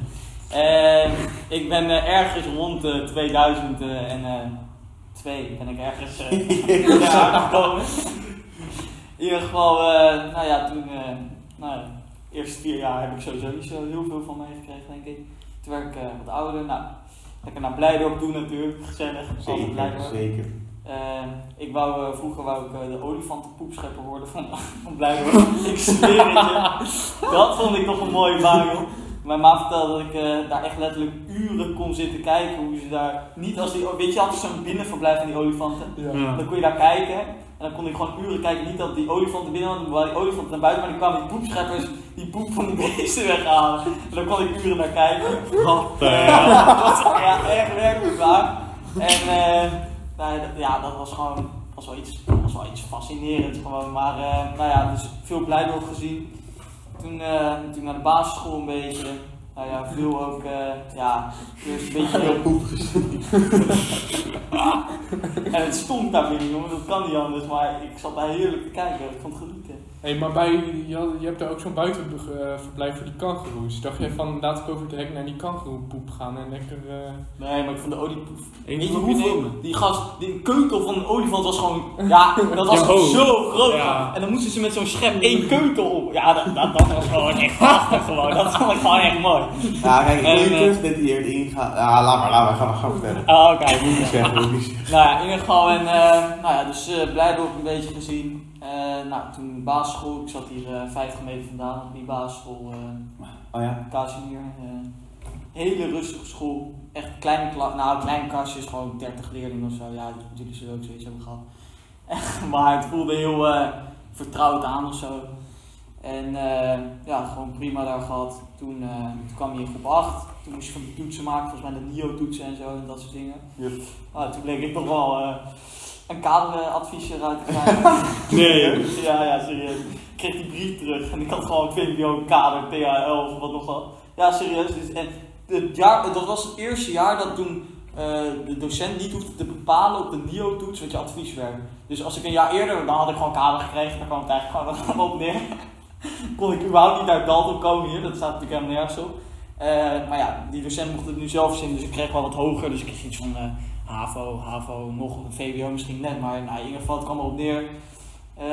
D: Eh, ik ben eh, ergens rond eh 2000 eh, en... eh, twee ben ik ergens eh ja, gekomen. In ieder geval, eh, nou ja, toen... eh nou, ja, de eerste vier jaar heb ik sowieso niet zo heel veel van meegekregen, denk ik. Toen werd ik eh, wat ouder. Nou, lekker naar Blijdorp doen natuurlijk. Gezellig. Altijd
A: Zeker,
D: Blijdorp.
A: zeker.
D: Eh, ik wou, eh, vroeger wou ik eh, de olifantenpoepschepper worden van, van Blijkbaar. ik zweer het je. Dat vond ik toch een mooie baan, joh. Mijn ma vertelde dat ik eh, daar echt letterlijk uren kon zitten kijken hoe ze daar... Niet als die... Weet je, altijd zo'n binnenverblijf van die olifanten. Dan kon je daar kijken en dan kon ik gewoon uren kijken. Niet dat die olifanten binnen waren, maar die olifanten naar buiten. Maar dan kwamen die poepscheppers die poep van die beesten weghalen. En dan kon ik uren naar kijken. Ja, echt werkelijk waar. En eh, nou, ja, dat- ja, dat was gewoon was wel, iets, was wel iets fascinerends gewoon. Maar eh, nou ja, dus veel blijdorp gezien. Toen, eh, toen naar de basisschool een beetje. Nou ja, veel ook, eh, ja, dus een beetje...
A: poep gezien.
D: En het stond daar binnen, jongen, dat kan niet anders. Maar ik zat daar heerlijk te kijken, ik vond het genieten.
B: Hé, maar bij, je, had- je hebt daar ook zo'n buitenverblijf voor die kangoeroes. Dacht jij van, laat ik over het hek naar die kangoeroepoep gaan en lekker... eh,
D: Nee, maar ik vond de oliepoef...
C: Ik
D: Weet je
C: moet hem
D: hoeveel?
C: nemen.
D: Die gast, die keutel van een olifant was gewoon... Ja, oh. dat was
C: Ja, ho.
D: zo groot.
C: Ja.
D: En dan moesten ze met zo'n schep één keutel op. Ja, dat, dat, dat was gewoon echt prachtig gewoon. Dat vond ik gewoon echt mooi.
A: Ja, kijk, ik wil
D: En,
A: niet
D: eh,
A: terug dat die erin gaat. Ah, laat maar, laat maar, ga maar, ga maar vertellen.
D: Ah, oké.
A: Ik moet niet zeggen, ik moet niet zeggen.
D: Nou ja, in ieder geval, en, eh, nou ja, dus eh Blijdorp een beetje gezien. Eh, nou, toen basisschool, ik zat hier eh 50 meter vandaan op die basisschool. eh
A: Oh ja,
D: Casimir. eh hele rustige school. Echt kleine klas, nou kleine kastjes, gewoon 30 leerlingen of zo. Ja, jullie zullen ook zoiets hebben gehad. maar het voelde heel eh, vertrouwd aan of zo. En eh, ja, gewoon prima daar gehad. Toen, eh, toen kwam je in groep 8. Toen moest je van die toetsen maken, volgens mij de NIO-toetsen en zo en dat soort dingen.
A: Yep.
D: Nou, toen bleek ik toch wel eh, een kaderadviesje uit te krijgen.
E: Nee.
D: ja, ja, serieus. Ik kreeg die brief terug en ik had gewoon VMBO kader, PHL of wat nog wat. Ja, serieus. Dus, en het jaar, dat was het eerste jaar dat toen eh, de docent niet hoefde te bepalen op de NIO-toets wat je advieswerk. Dus als ik een jaar eerder, dan had ik gewoon kader gekregen, dan kwam het eigenlijk gewoon op neer. Kon ik überhaupt niet naar Dalton komen hier, dat staat natuurlijk helemaal nergens op. Eh, maar ja, die docent mocht het nu zelf zien, dus ik kreeg wel wat hoger. Dus ik kreeg iets van eh, HAVO, HAVO, nog een VWO misschien net, maar nou, in ieder geval het kwam erop neer. Eh,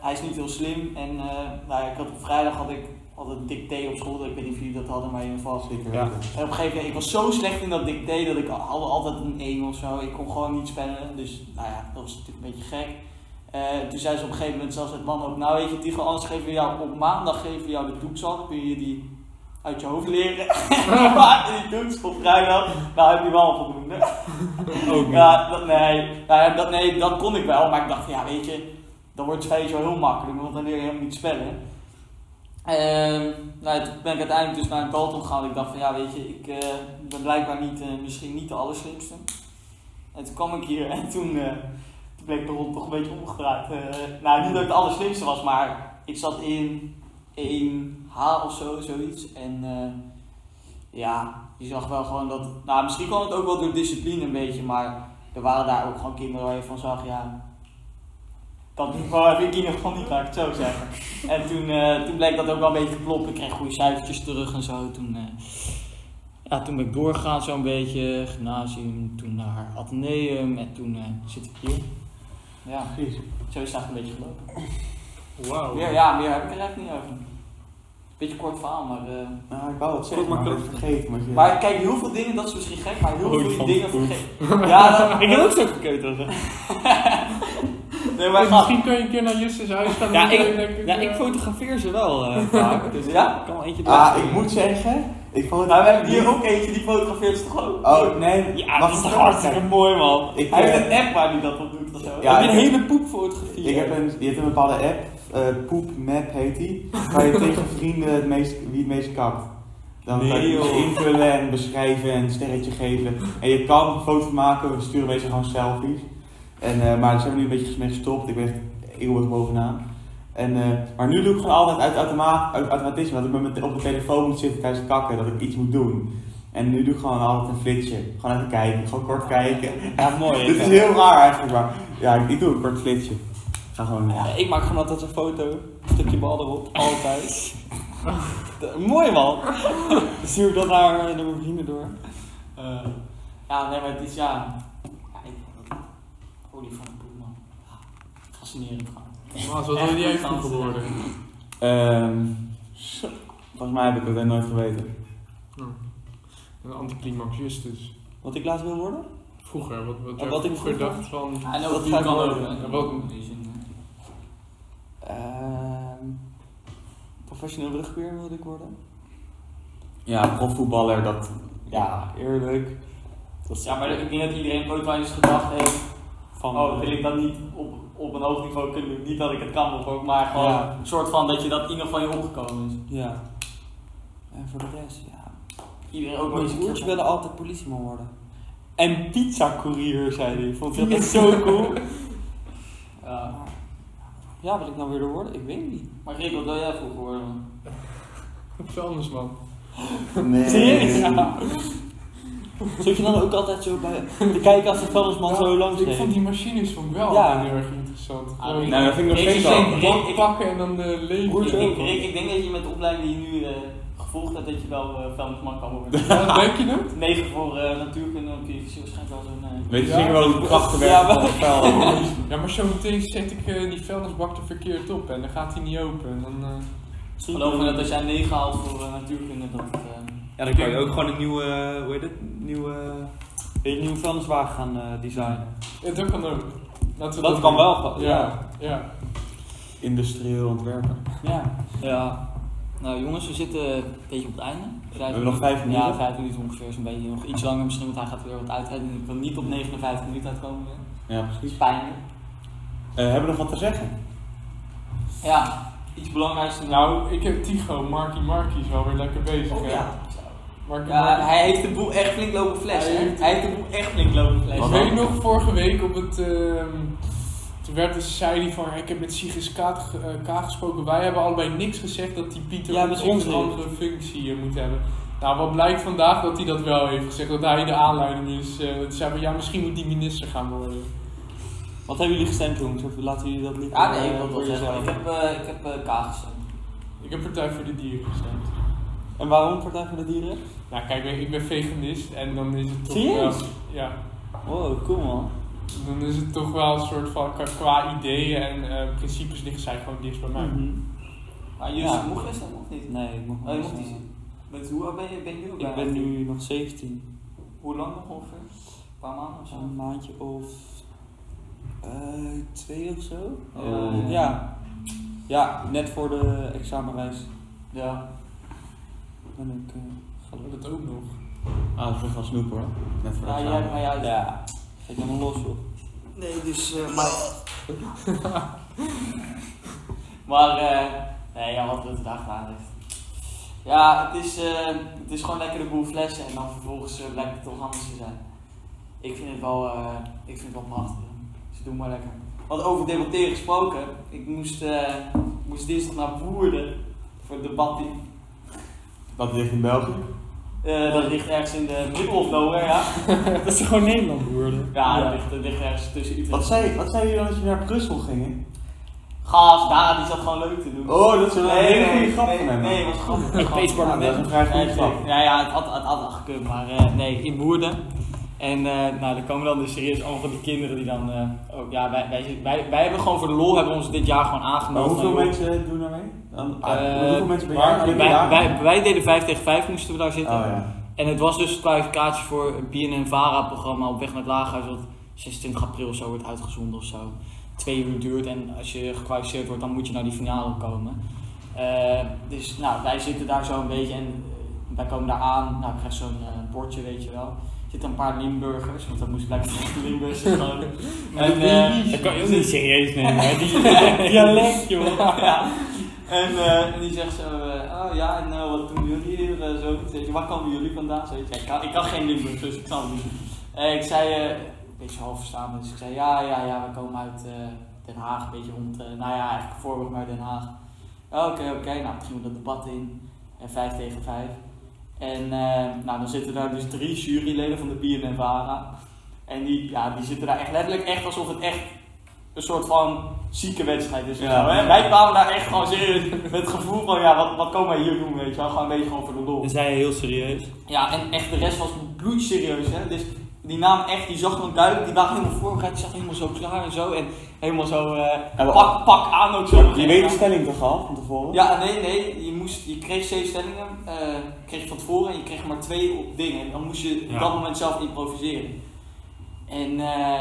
D: hij is niet heel slim en eh, nou, ja, ik had op vrijdag had ik altijd een dicté op school, ik weet niet of jullie dat hadden, maar in ieder geval.
A: Zeker
B: Ja.
A: weten.
D: En op een gegeven moment, ik was zo slecht in dat dicté dat ik al- al- altijd een 1 of zo, ik kon gewoon niet spellen. Dus nou ja, dat was natuurlijk een beetje gek. Eh, toen zei ze op een gegeven moment zelfs het man ook, nou weet je Tigo, anders geven we jou, op maandag geven we jou de toets al, dan kun je die uit je hoofd leren. maar die toets op vrijdag, nou heb je wel een voldoende.
B: Ook niet.
D: Ja, dat, nee. Nou ja, dat, nee, dat kon ik wel, maar ik dacht, ja, weet je, dan wordt het spelletje wel heel makkelijk, want dan leer je helemaal niet spellen. Ehm nou, ja, toen ben ik uiteindelijk dus naar een Dalton gegaan. Ik dacht van, ja, weet je, ik eh, ben blijkbaar niet, eh, misschien niet de allerslimste. En toen kwam ik hier en toen, eh, toen bleek de rond toch een beetje omgedraaid. Eh, nou, niet dat ik de allerslimste was, maar ik zat in 1H of zo, zoiets. En eh, ja, je zag wel gewoon dat. Nou, misschien kwam het ook wel door discipline een beetje, maar er waren daar ook gewoon kinderen waar je van zag, ja. Dat niveau heb ik in ieder geval niet, laat ik het zo zeggen. En toen, eh, toen bleek dat ook wel een beetje te kloppen. Ik kreeg goede cijfertjes terug en zo. Toen, eh, ja, toen ben ik doorgegaan zo'n beetje. Gymnasium, toen naar Atheneum en toen eh, zit ik hier. Ja,
A: Precies. Oh,
D: zo is het eigenlijk een beetje gelopen.
B: Wauw.
D: Meer, ja, meer heb ik er eigenlijk niet over. Beetje kort verhaal, maar... eh,
A: Nou, ik wou het zeggen,
C: Kort
A: maar
C: maar
A: ik heb het vergeten. Maar, je-
D: maar kijk, heel veel dingen, dat is misschien gek, maar heel
E: Oh,
D: veel
E: van
D: dingen
E: poep.
D: vergeet. Ja, dat,
E: Ik heb ook zo'n gekeuter.
D: Nee, maar
B: Dus
D: ga.
B: Misschien kun je een keer naar Justus huis gaan.
E: Ja,
B: Dan kun
E: ik-
B: je lekker-
E: Ja, ik fotografeer ze wel eh, vaak. Dus
D: Ja?
E: ik kan wel eentje
A: ah,
E: doen.
A: ik moet zeggen, ik vond het...
D: Nou, we hebben hier ook eentje die fotografeert ze toch ook?
A: Oh, nee.
E: Ja, dat
A: wacht,
E: is toch
A: wacht,
E: hartstikke
A: wacht.
E: mooi, man.
A: Ik,
D: Hij
A: eh,
D: heeft een app waar hij dat op doet of zo.
A: Ja,
E: ik heb
A: ik-
E: een hele poep fotografie.
A: Ik heb een, je hebt een bepaalde app, eh Poep Map heet die, waar je tegen vrienden het meest, wie het meest kapt. Dan kan
E: Nee,
A: je
E: joh.
A: invullen en beschrijven en een sterretje geven. En je kan foto's maken, we sturen mensen gewoon selfies. En, eh, maar daar zijn we nu een beetje mee gestopt, ik ben echt eeuwig bovenaan. En, eh, maar nu doe ik gewoon altijd uit, automa- uit automatisme, dat ik met mijn- op mijn telefoon moet zitten tijdens het kakken, dat ik iets moet doen. En nu doe ik gewoon altijd een flitsje. Gewoon even kijken, gewoon kort kijken.
E: Ja, mooi.
A: Dit is heel raar eigenlijk, maar ja, ik, ik doe een kort flitsje. Ik ga gewoon...
E: Ja, ik maak gewoon altijd een foto. Een stukje bal erop. Altijd. De- mooi, man. Dan Stuur ik dat naar, eh, naar mijn vrienden door.
D: Eh, ja, nee, maar het is ja. ja ik, olie van de boel, man. Ja, Fascinerend gewoon.
B: Maar zo wil je
D: Echt
B: even goed
D: goed
B: geworden.
A: Ehm, volgens mij heb ik dat echt nooit geweten.
B: Een anticlimax Justus.
E: Wat ik laat wil worden?
B: Vroeger, wat, wat,
E: Oh,
B: jij
E: wat ik
B: vroeger
E: vroeger-
B: dacht van...
D: En
E: Wat
D: ook die
E: gaat
D: kan
E: er
D: ook.
E: worden?
D: hè.
B: Wat-
D: In die zin, hè.
E: Ehm, professioneel rugbeer wilde ik worden.
A: Ja, profvoetballer, dat...
E: Ja, eerlijk. Dat is
D: Ja, maar ik denk dat iedereen ooit wel eens gedacht heeft:
E: van...
D: oh, wil ik dat niet op, op een hoog niveau kunnen doen? Niet dat ik het kan of ook, maar gewoon
E: Ja.
D: een soort van dat je dat in ieder geval in je opgekomen is.
E: Ja. En voor de rest, ja.
D: Iedereen ook wel eens
E: Mijn
D: een
E: broers
D: keer-
E: willen altijd politieman worden. En pizzacourier, zei hij. Vond hij dat zo cool.
D: Ja.
E: Ja, wil ik nou weer door worden? Ik weet niet.
D: Maar Rick, wat wil jij vroeger worden? man?
B: Iets anders, man.
A: Nee.
E: Serieus? Ja. Zit je dan ook altijd zo bij te kijken als de vuilnisman zo langs
B: Ik vond
E: reed?
B: die machines vond ik wel
E: Ja. Ah,
B: heel erg interessant. Gewoon-
A: Nou, dat vind ik nog
D: Ik-
A: steeds
D: ik-
A: wel.
D: ik-
B: Blok
D: ik- ik-
B: pakken en dan de
E: Broers
B: leven.
E: ook.
D: Ik, ik, ik denk dat je met de opleiding die je nu eh, gevolgd hebt, dat je wel eh vuilnisman kan worden.
B: Ja, denk je dat?
D: 9 voor eh, natuurkunde, dan kun je fysiek waarschijnlijk wel zo'n... eh,
A: Weet je
B: Ja.
A: zeker wel hoe krachten werken
E: Ja, wel.
A: van het spel?
B: Ja, maar zo meteen zet ik eh, die vuilnisbak er verkeerd op en dan gaat hij niet open. En dan, eh,
E: Misschien
D: geloof me dat als jij 9 haalt voor eh, natuurkunde, dat het... eh,
E: Ja,
B: dan kan je ook
E: gewoon een nieuwe, eh, hoe heet het? Nieuwe, een nieuwe vuilniswagen gaan eh, designen.
B: ja, dat kan ook. Laten we
E: Dat kan
B: doen.
E: wel,
B: Ja, ja.
A: Industrieel ontwerpen.
E: Ja. Ja.
D: Nou jongens, we zitten een beetje op het einde. Vijf
A: We hebben nog vijf minuten.
D: Ja, vijf minuten ongeveer, zo'n beetje. Nog iets langer misschien, want hij gaat weer wat uitrijden. Ik kan niet op 59 minuten uitkomen weer.
A: Ja,
D: Dat is
A: precies.
D: pijnlijk.
A: Eh, hebben we nog wat te zeggen?
D: Ja, iets belangrijks. te
B: Nou, ik heb Tigo, Marky Marky is wel weer lekker bezig.
D: Oh,
B: hè?
D: ja.
B: Marky
D: ja,
B: Marky.
D: hij heeft de boel echt flink lopen fles,
B: Hij
D: hè?
B: heeft-
D: Hij heeft de boel echt flink lopen fles.
A: Wat
B: Ik
A: dan?
B: weet nog, vorige week op het... ehm, toen werd dus, zei hij van, ik heb met Sigis K, ge- eh, K gesproken. Wij hebben allebei niks gezegd dat die Pieter
C: Ja,
B: ja,
C: met
B: een
C: ons niet.
B: andere functie eh, moet hebben. Nou, wat blijkt vandaag dat hij dat wel heeft gezegd. Dat hij de aanleiding is. eh want ze hebben, ja, misschien moet die minister gaan worden.
C: Wat hebben jullie gestemd, jongens? Of laten jullie dat niet?
D: Ja, Ah, nee,
C: eh,
D: ik wil het
C: voor
D: wel zeggen. Ik
C: jezelf?
D: heb, eh, ik heb eh, K gestemd.
B: Ik heb Partij voor de Dieren gestemd.
C: En waarom Partij voor de Dieren?
B: Nou, kijk, ik ben veganist en dan is het toch wel...
C: Serieus?
B: Ja,
C: Wow, cool man.
B: dan is het toch wel een soort van, qua, qua ideeën en eh, principes ligt zij gewoon dicht bij mij.
C: Mhm.
D: Maar jullie
C: Ja.
D: mocht je stemmen of niet?
C: Nee, ik mocht
D: Oh, je
C: niet
D: mocht niet Oh,
C: zeggen.
D: zien. Met hoe oud ben je, ben je nu? ook
C: Ik
D: bijna?
C: ben nu nog 17.
D: Hoe lang nog ongeveer? Een paar maanden of zo?
C: Een maandje of eh, twee of zo.
D: Eh,
A: Oh.
C: Ja. ja, net voor de examenreis
D: Ja.
C: ben ik eh
B: Ik
C: gelukkig.
B: heb dat ook nog.
A: Ah, dat is nog wel snoep hoor. Net voor de
D: Ja,
A: examen.
D: jij, maar jij.
C: Ja, ik helemaal los op.
D: Nee, dus. eh, maar. maar, eh. Nee, ja, wat Rutte daar gedaan heeft. Ja, het is, eh, het is gewoon lekker een boel flessen en dan vervolgens eh, blijkt het toch anders te zijn. Ik vind het wel, eh, ik vind het wel prachtig. Ze doen maar lekker. Want over debatteren gesproken, ik moest, eh, moest dinsdag naar Woerden voor het debat. die-
A: Dat ligt in België.
D: eh, dat ligt ergens in de middle of nowhere, ja.
C: Dat is gewoon Nederland geworden.
D: Ja, dat ligt, dat ligt ergens tussen Utrecht.
A: Wat zei, wat zei je dan dat je naar Brussel ging?
D: Gaas, daar, die zat gewoon leuk te doen.
A: Oh, dat is een
D: Nee,
A: hele goede
D: nee,
A: grap
D: nee,
A: van hem.
D: Nee, was grappig. was grappig.
A: maar dat is een vrij goede grap.
D: Ja, ja, het had, het had wel gekund, maar eh, nee, in Woerden. En eh, nou, er komen dan dus serieus allemaal van die kinderen die dan eh, ook, ja, wij, wij, wij, wij hebben gewoon voor de lol hebben we ons dit jaar gewoon
A: Maar
D: aangenomen.
A: hoeveel
D: van, joh,
A: mensen doen daar mee? Dan, ah,
D: Eh,
A: hoeveel mensen ben
D: waar-
A: jij? Ben je
D: wij,
A: daar?
D: wij, wij deden 5 tegen 5 moesten we daar
A: Oh
D: zitten.
A: ja.
D: En het was dus kwalificatie voor het BNN-VARA-programma op weg naar het laaghuis, wat 26 april of zo wordt uitgezonden of zo. Twee uur duurt en als je gekwalificeerd wordt, dan moet je naar die finale komen. Eh, dus nou, wij zitten daar zo een beetje en eh, wij komen daar aan. Nou, ik krijg zo'n eh, bordje, weet je wel. Er zitten een paar Limburgers, want dat moest blijkbaar van Limburgers gewoon. En, eh,
C: Dat kan je ook niet serieus nemen, hè? Die
D: dialect, joh. ja. En, eh, en die zegt zo, eh, oh ja, en eh, wat doen jullie hier? eh, zo, Zeg je, waar komen jullie vandaan? Zo, ik, zei, ik, kan, ik kan geen Limburgs, dus ik snap het niet. En ik zei, eh, een beetje half verstaan, dus ik zei, ja, ja, ja, we komen uit eh, Den Haag, een beetje rond, eh, nou ja, eigenlijk voorbeeld maar Den Haag. Ja, Oké, oké, nou, toen gingen we dat debat in, en vijf tegen vijf. En eh, nou, dan zitten daar dus drie juryleden van de BNNVARA. En die, ja, die zitten daar echt letterlijk echt alsof het echt een soort van zieke wedstrijd is. of
A: Ja.
D: zo, hè? Wij kwamen daar echt gewoon serieus met het gevoel van, ja, wat, wat komen wij hier doen, weet je wel. Gewoon een beetje gewoon voor de lol.
C: Dan
A: Dus-
C: zei je heel serieus.
D: Ja, en echt de rest was bloedserieus, hè. Dus die naam echt, die zag gewoon duidelijk, die waren helemaal voorbereid, die zag helemaal zo klaar en zo. En helemaal zo, eh,
A: En we-
D: pak, pak aan ook zo.
A: Je weet de stelling toch al van tevoren?
D: Ja, nee, nee. Je, moest, je kreeg zeven stellingen, eh, kreeg je van tevoren en je kreeg maar twee op dingen. En dan moest je op
C: Ja.
D: dat moment zelf improviseren. En eh,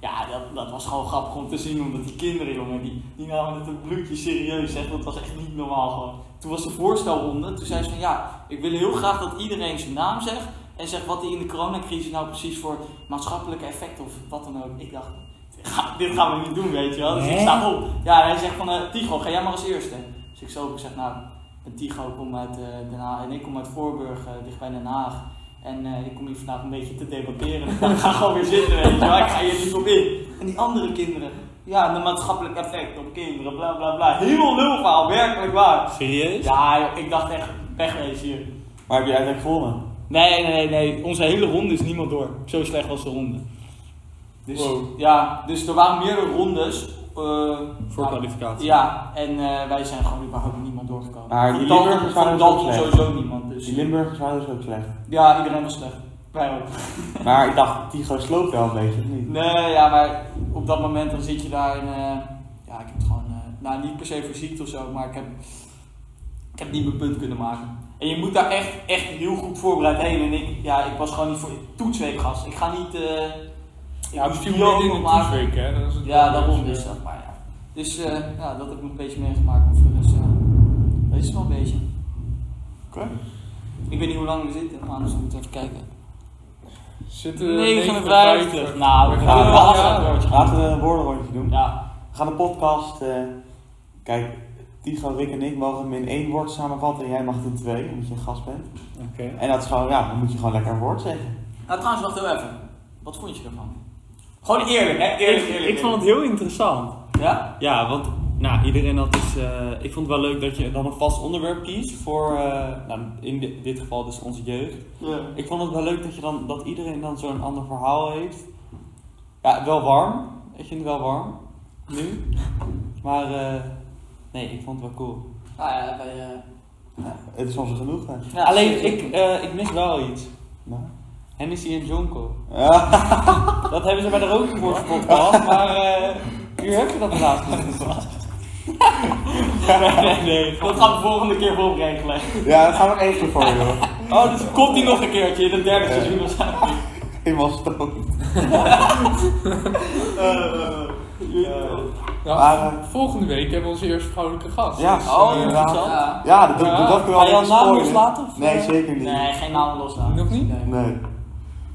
D: ja, dat, dat was gewoon grappig om te zien, omdat die kinderen, jongen, die, die namen het een bloedje serieus, echt. Dat was echt niet normaal gewoon. Toen was de voorstelronde, toen zei ze van ja, ik wil heel graag dat iedereen zijn naam zegt en zegt wat hij in de coronacrisis nou precies voor maatschappelijke effecten of wat dan ook. Ik dacht, dit ga- dit gaan we niet doen, weet je wel. Dus ik
C: Hè?
D: sta op. Ja, en hij zegt van, eh Tigo, ga jij maar als eerste. Dus ik zo, ik zeg, nou, en Tigo komt uit eh, Den Haag en ik kom uit Voorburg, eh, dichtbij Den Haag. En eh, ik kom hier vandaag een beetje te debatteren. ik ga gewoon weer zitten, weet je wel. Ik ga hier niet op in. En die andere kinderen, ja, de maatschappelijk effect op kinderen, bla bla bla. Heel lulverhaal, werkelijk waar.
C: Serieus?
D: Ja, joh, ik dacht echt, wegwezen hier.
A: Maar heb je uiteindelijk gewonnen?
C: Nee, nee, nee. Onze hele ronde is niemand door. Zo slecht was de ronde.
D: Dus,
B: Wow.
D: ja, dus er waren meerdere rondes. eh,
C: Voor
D: nou,
C: kwalificatie.
D: Ja, en eh, wij zijn gewoon überhaupt niemand doorgekomen.
A: Maar
D: Van
A: die
D: Dalton-
A: Limburgers
D: van
A: waren
D: Dalton
A: ook slecht.
D: sowieso niemand. Dus.
A: Die Limburgers waren dus ook slecht.
D: Ja, iedereen was slecht. Wij ook.
A: Maar ik dacht, Tigo sloopt wel een beetje, of niet?
D: Nee, ja, maar op dat moment dan zit je daar en eh, ja, ik heb het gewoon, eh, nou niet per se fysiek of zo, maar ik heb, ik heb niet mijn punt kunnen maken. En je moet daar echt, echt heel goed voorbereid heen. En ik, ja, ik was gewoon niet voor toetsweek gast. Ik ga niet. eh
B: Ja,
D: ik moest
B: misschien
D: die ook
B: moet je
D: nog
B: in de
D: maken.
B: toesweek, hè. Dan is het
D: Ja,
B: wel
D: daarom
B: weer-
D: dus dat, maar ja. Dus eh, ja, dat heb ik nog een beetje meegemaakt, maar voor de rest, ja, dat is het wel een beetje. Ik weet niet hoe lang we zitten, maar anders moet ik even kijken.
B: eh,
C: eh,
B: Zitten
D: 59. Nou, we
B: Ja,
D: gaan
A: ja,
D: wel
A: ja.
D: afsluiten, hoor.
A: Laten we eh, een woordenrondje doen.
D: Ja,
A: We gaan de podcast. eh, kijk, Tigo, Rick en ik mogen hem in één woord samenvatten. En jij mag het in twee, omdat je een gast bent.
B: Oké.
A: En dat is gewoon, ja, dan moet je gewoon lekker een woord zeggen.
D: nou trouwens, wacht heel even. Wat vond je ervan? Gewoon eerlijk, hè? Eerlijk,
C: ik,
D: eerlijk.
C: ik vond het heel interessant.
D: het... Ja?
C: Ja, want nou, iedereen had dus. eh, ik vond het wel leuk dat je dan een vast onderwerp kiest voor. eh, nou, in di- dit geval dus onze jeugd.
D: Ja.
C: Ik vond het wel leuk dat, je dan, dat iedereen dan zo'n ander verhaal heeft. Ja, wel warm. Ik vind het wel warm. Nu. Maar eh, nee, ik vond het wel cool.
D: Nou ja, bij... eh,
A: Ja, het is onze genoeg. hè.
D: ja,
C: Alleen
D: zeker.
C: ik, eh, ik mis wel iets.
A: Nou.
C: Hennessy en Jonko.
A: Ja.
C: Dat hebben ze bij de Rokenwoordse podcast, maar eh, hier heb je dat helaas niet. nee, nee, nee.
D: Dat gaan we volgende keer voor regelen.
A: Ja, dat gaan we één keer voor, joh.
D: Oh, dus komt die nog een keertje in het derde seizoen waarschijnlijk.
A: Helemaal Eh, stroom.
B: Ja,
A: eh, Maar, eh,
B: volgende week hebben we onze eerste vrouwelijke gast.
A: Ja.
B: Dus,
A: Oh,
B: eh,
A: inderdaad.
D: Ja.
A: ja, dat, dat,
B: Ja.
A: dat kunnen we
C: Ga je
A: wel
C: al
A: even
C: naam
A: spoilen.
C: loslaten? of,
A: Nee,
C: eh?
A: zeker niet.
D: Nee, geen namen loslaten.
B: Nog niet?
D: Nee.
A: Nee.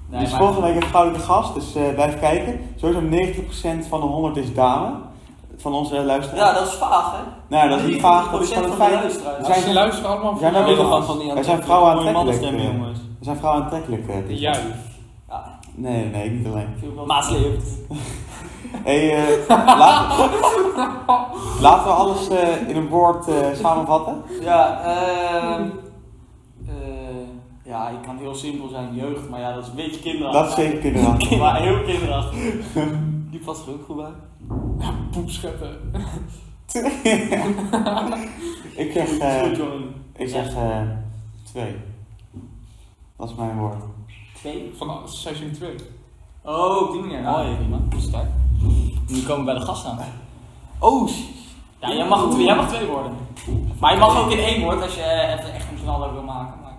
D: Nee,
A: dus
D: maar-
A: volgende week een vrouwelijke gast, dus eh, blijf kijken. Sowieso 90% van de 100 is dame. Van onze luisteraars.
D: Ja, dat is vaag, hè?
A: nou, dat is niet vaag, dat is gewoon een feit.
D: feit.
A: Er
B: Als ze
A: zijn,
B: luisteren allemaal
A: zijn
C: nou-
A: daar
B: jou.
A: middel van. Er zijn vrouwen
C: mooie
A: aantrekkelijk,
C: mannenstemmen,
A: eh.
C: jongens.
A: er zijn vrouwen aantrekkelijk. eh, dit.
B: Juist.
A: Nee, nee, niet alleen.
D: Maasleeuw.
A: Hey, eh, laten, laten we alles eh, in een woord eh, samenvatten.
D: Ja, ehm. eh, ja, ik kan heel simpel zijn, jeugd, maar ja, dat is een beetje kinderachtig.
A: Dat is zeker kinderachtig.
D: Maar heel kinderachtig.
C: Die past er ook goed bij.
B: Poep scheppen.
A: Ik zeg,
D: Goed,
A: eh,
D: jongen.
A: ik zeg eh, twee. Dat is mijn woord.
D: Twee?
B: Van seizoen 2.
D: Oh, op die manier. Nou,
C: Mooi.
D: prima. Sterk. Nu komen we bij de gast aan.
C: Oh,
D: Ja, jij mag, twee, jij mag twee worden. Maar je mag ook in één woord als je eh, even echt een knaller wil maken. Maar...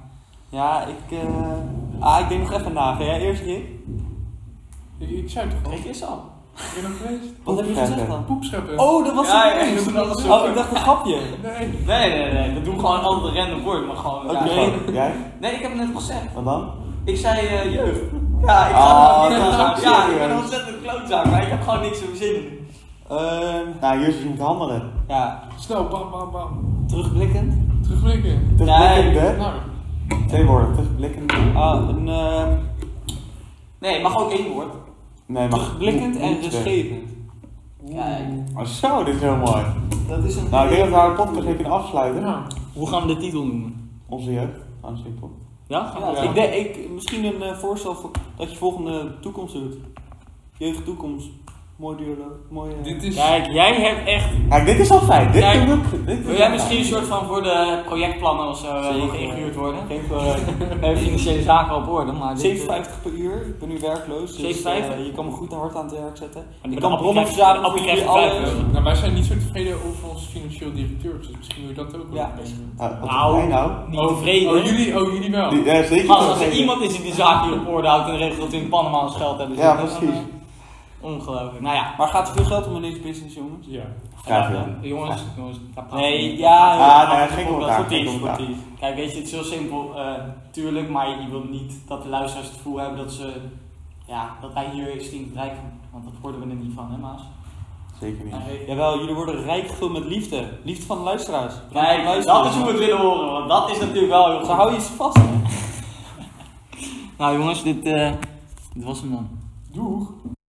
C: Ja, ik. eh, ah, ik denk nog even na. Ga jij eerst, Rick?
B: Ik, ik zei het toch al?
D: Rick is al.
B: Ik ben er geweest.
C: Wat heb je gezegd dan?
B: Poep scheppen.
C: Oh, dat was
D: Ja,
C: het
D: ja,
C: ineens.
D: dat was
C: Oh,
D: het.
C: ik dacht een grapje.
B: Nee.
D: Nee, nee, nee. Dat doen we gewoon altijd een random woord, maar gewoon...
C: Oh,
A: Oké,
D: ja.
A: jij?
D: Nee, ik heb het net gezegd.
A: Wat dan?
D: Ik zei eh, jeugd. Ja, ik, ga
A: Ah,
D: er-
A: dat is
D: ja, ik ben
A: serieus.
D: een ontzettend klootzak, maar ik heb gewoon niks in mijn zin.
C: Ehm,
A: Nou, hier is je moet handelen.
C: ja,
B: Snel, bam, bam, bam.
C: terugblikkend.
B: Terugblikken.
A: Terugblikkende.
B: Nou,
A: Twee woorden. Terugblikkende.
C: Ah, een. ehm,
D: Nee, mag ook één woord.
A: Nee, maar.
C: terugblikkend en
A: Niet twee.
C: rustgevend.
D: Kijk,
A: Oh, zo, dit is heel mooi.
D: dat is een.
A: Nou, ik denk dat we haar podcast even kunnen afsluiten.
B: nou.
C: Hoe gaan we de titel noemen?
A: Onze jeugd. Ah, Gewoon simpel.
C: Ja?
D: Ja,
B: ja.
C: Ik denk, ik, misschien een eh, voorstel voor, dat je volgende toekomst doet. Jeugd toekomst. Mooi dialoog. Mooi, eh,
B: Dit is...
C: Kijk, jij hebt echt...
A: Kijk, dit is al fijn. Dit
D: Kijk,
A: doen we- dit is
D: Wil
A: al
D: jij misschien een soort van voor de projectplannen of zo eh, nog
C: Zeker.
D: ingehuurd worden?
C: Geen eh,
D: Eh, financiële zaken op orde, maar. dit, eh,
C: 7,50 per uur. Ik ben nu werkloos. Dus,
D: 7,50?
C: eh, je kan me goed en hard aan het werk zetten.
D: de
C: Ik kan
D: appel
C: bronnen
D: krijgt-
C: verzamelen
D: de
C: voor
D: appel
C: jullie
D: krijgt vijf
C: alles.
D: euro.
B: Nou, wij zijn niet zo tevreden over ons financieel directeur, dus misschien wil je dat ook wel
C: Ja.
B: opnemen.
A: Ah, wat
D: Nou.
A: nou. jij nou?
D: Niet
B: Oh,
D: tevreden.
B: Oh, jullie, oh, jullie wel.
A: Die- Ja, zeker.
D: Gast, als er iemand is die de zaak hier op orde houdt en regelt dat we in Panama ons geld hebben.
A: Ja,
D: zitten, dan,
A: precies.
D: eh, Ongelooflijk. Nou ja.
C: Maar gaat er veel geld om in deze business, jongens?
B: Ja.
A: Graag
D: Ja,
A: gedaan.
D: Jongens, jongens, daar praten we
C: Nee,
D: niet.
C: ja.
A: Ah, nee,
C: ja,
A: geen
C: dat
A: commentaar,
C: sportief,
A: geen commentaar.
C: sportief.
D: Kijk, weet je, het is heel simpel. eh, tuurlijk, maar je wil niet dat de luisteraars het gevoel hebben dat ze... Ja, dat wij hier stinkend rijk van worden. Want dat worden we er niet van, hè Maas?
A: Zeker niet.
D: Nee,
C: Jawel, jullie worden rijk gevuld met liefde. Liefde van de luisteraars.
D: nee, dat is hoe we het willen horen, want dat is natuurlijk wel heel
C: Zo
D: goed.
C: hou je ze vast.
D: Nou jongens, dit, eh, dit was hem dan.
B: Doeg.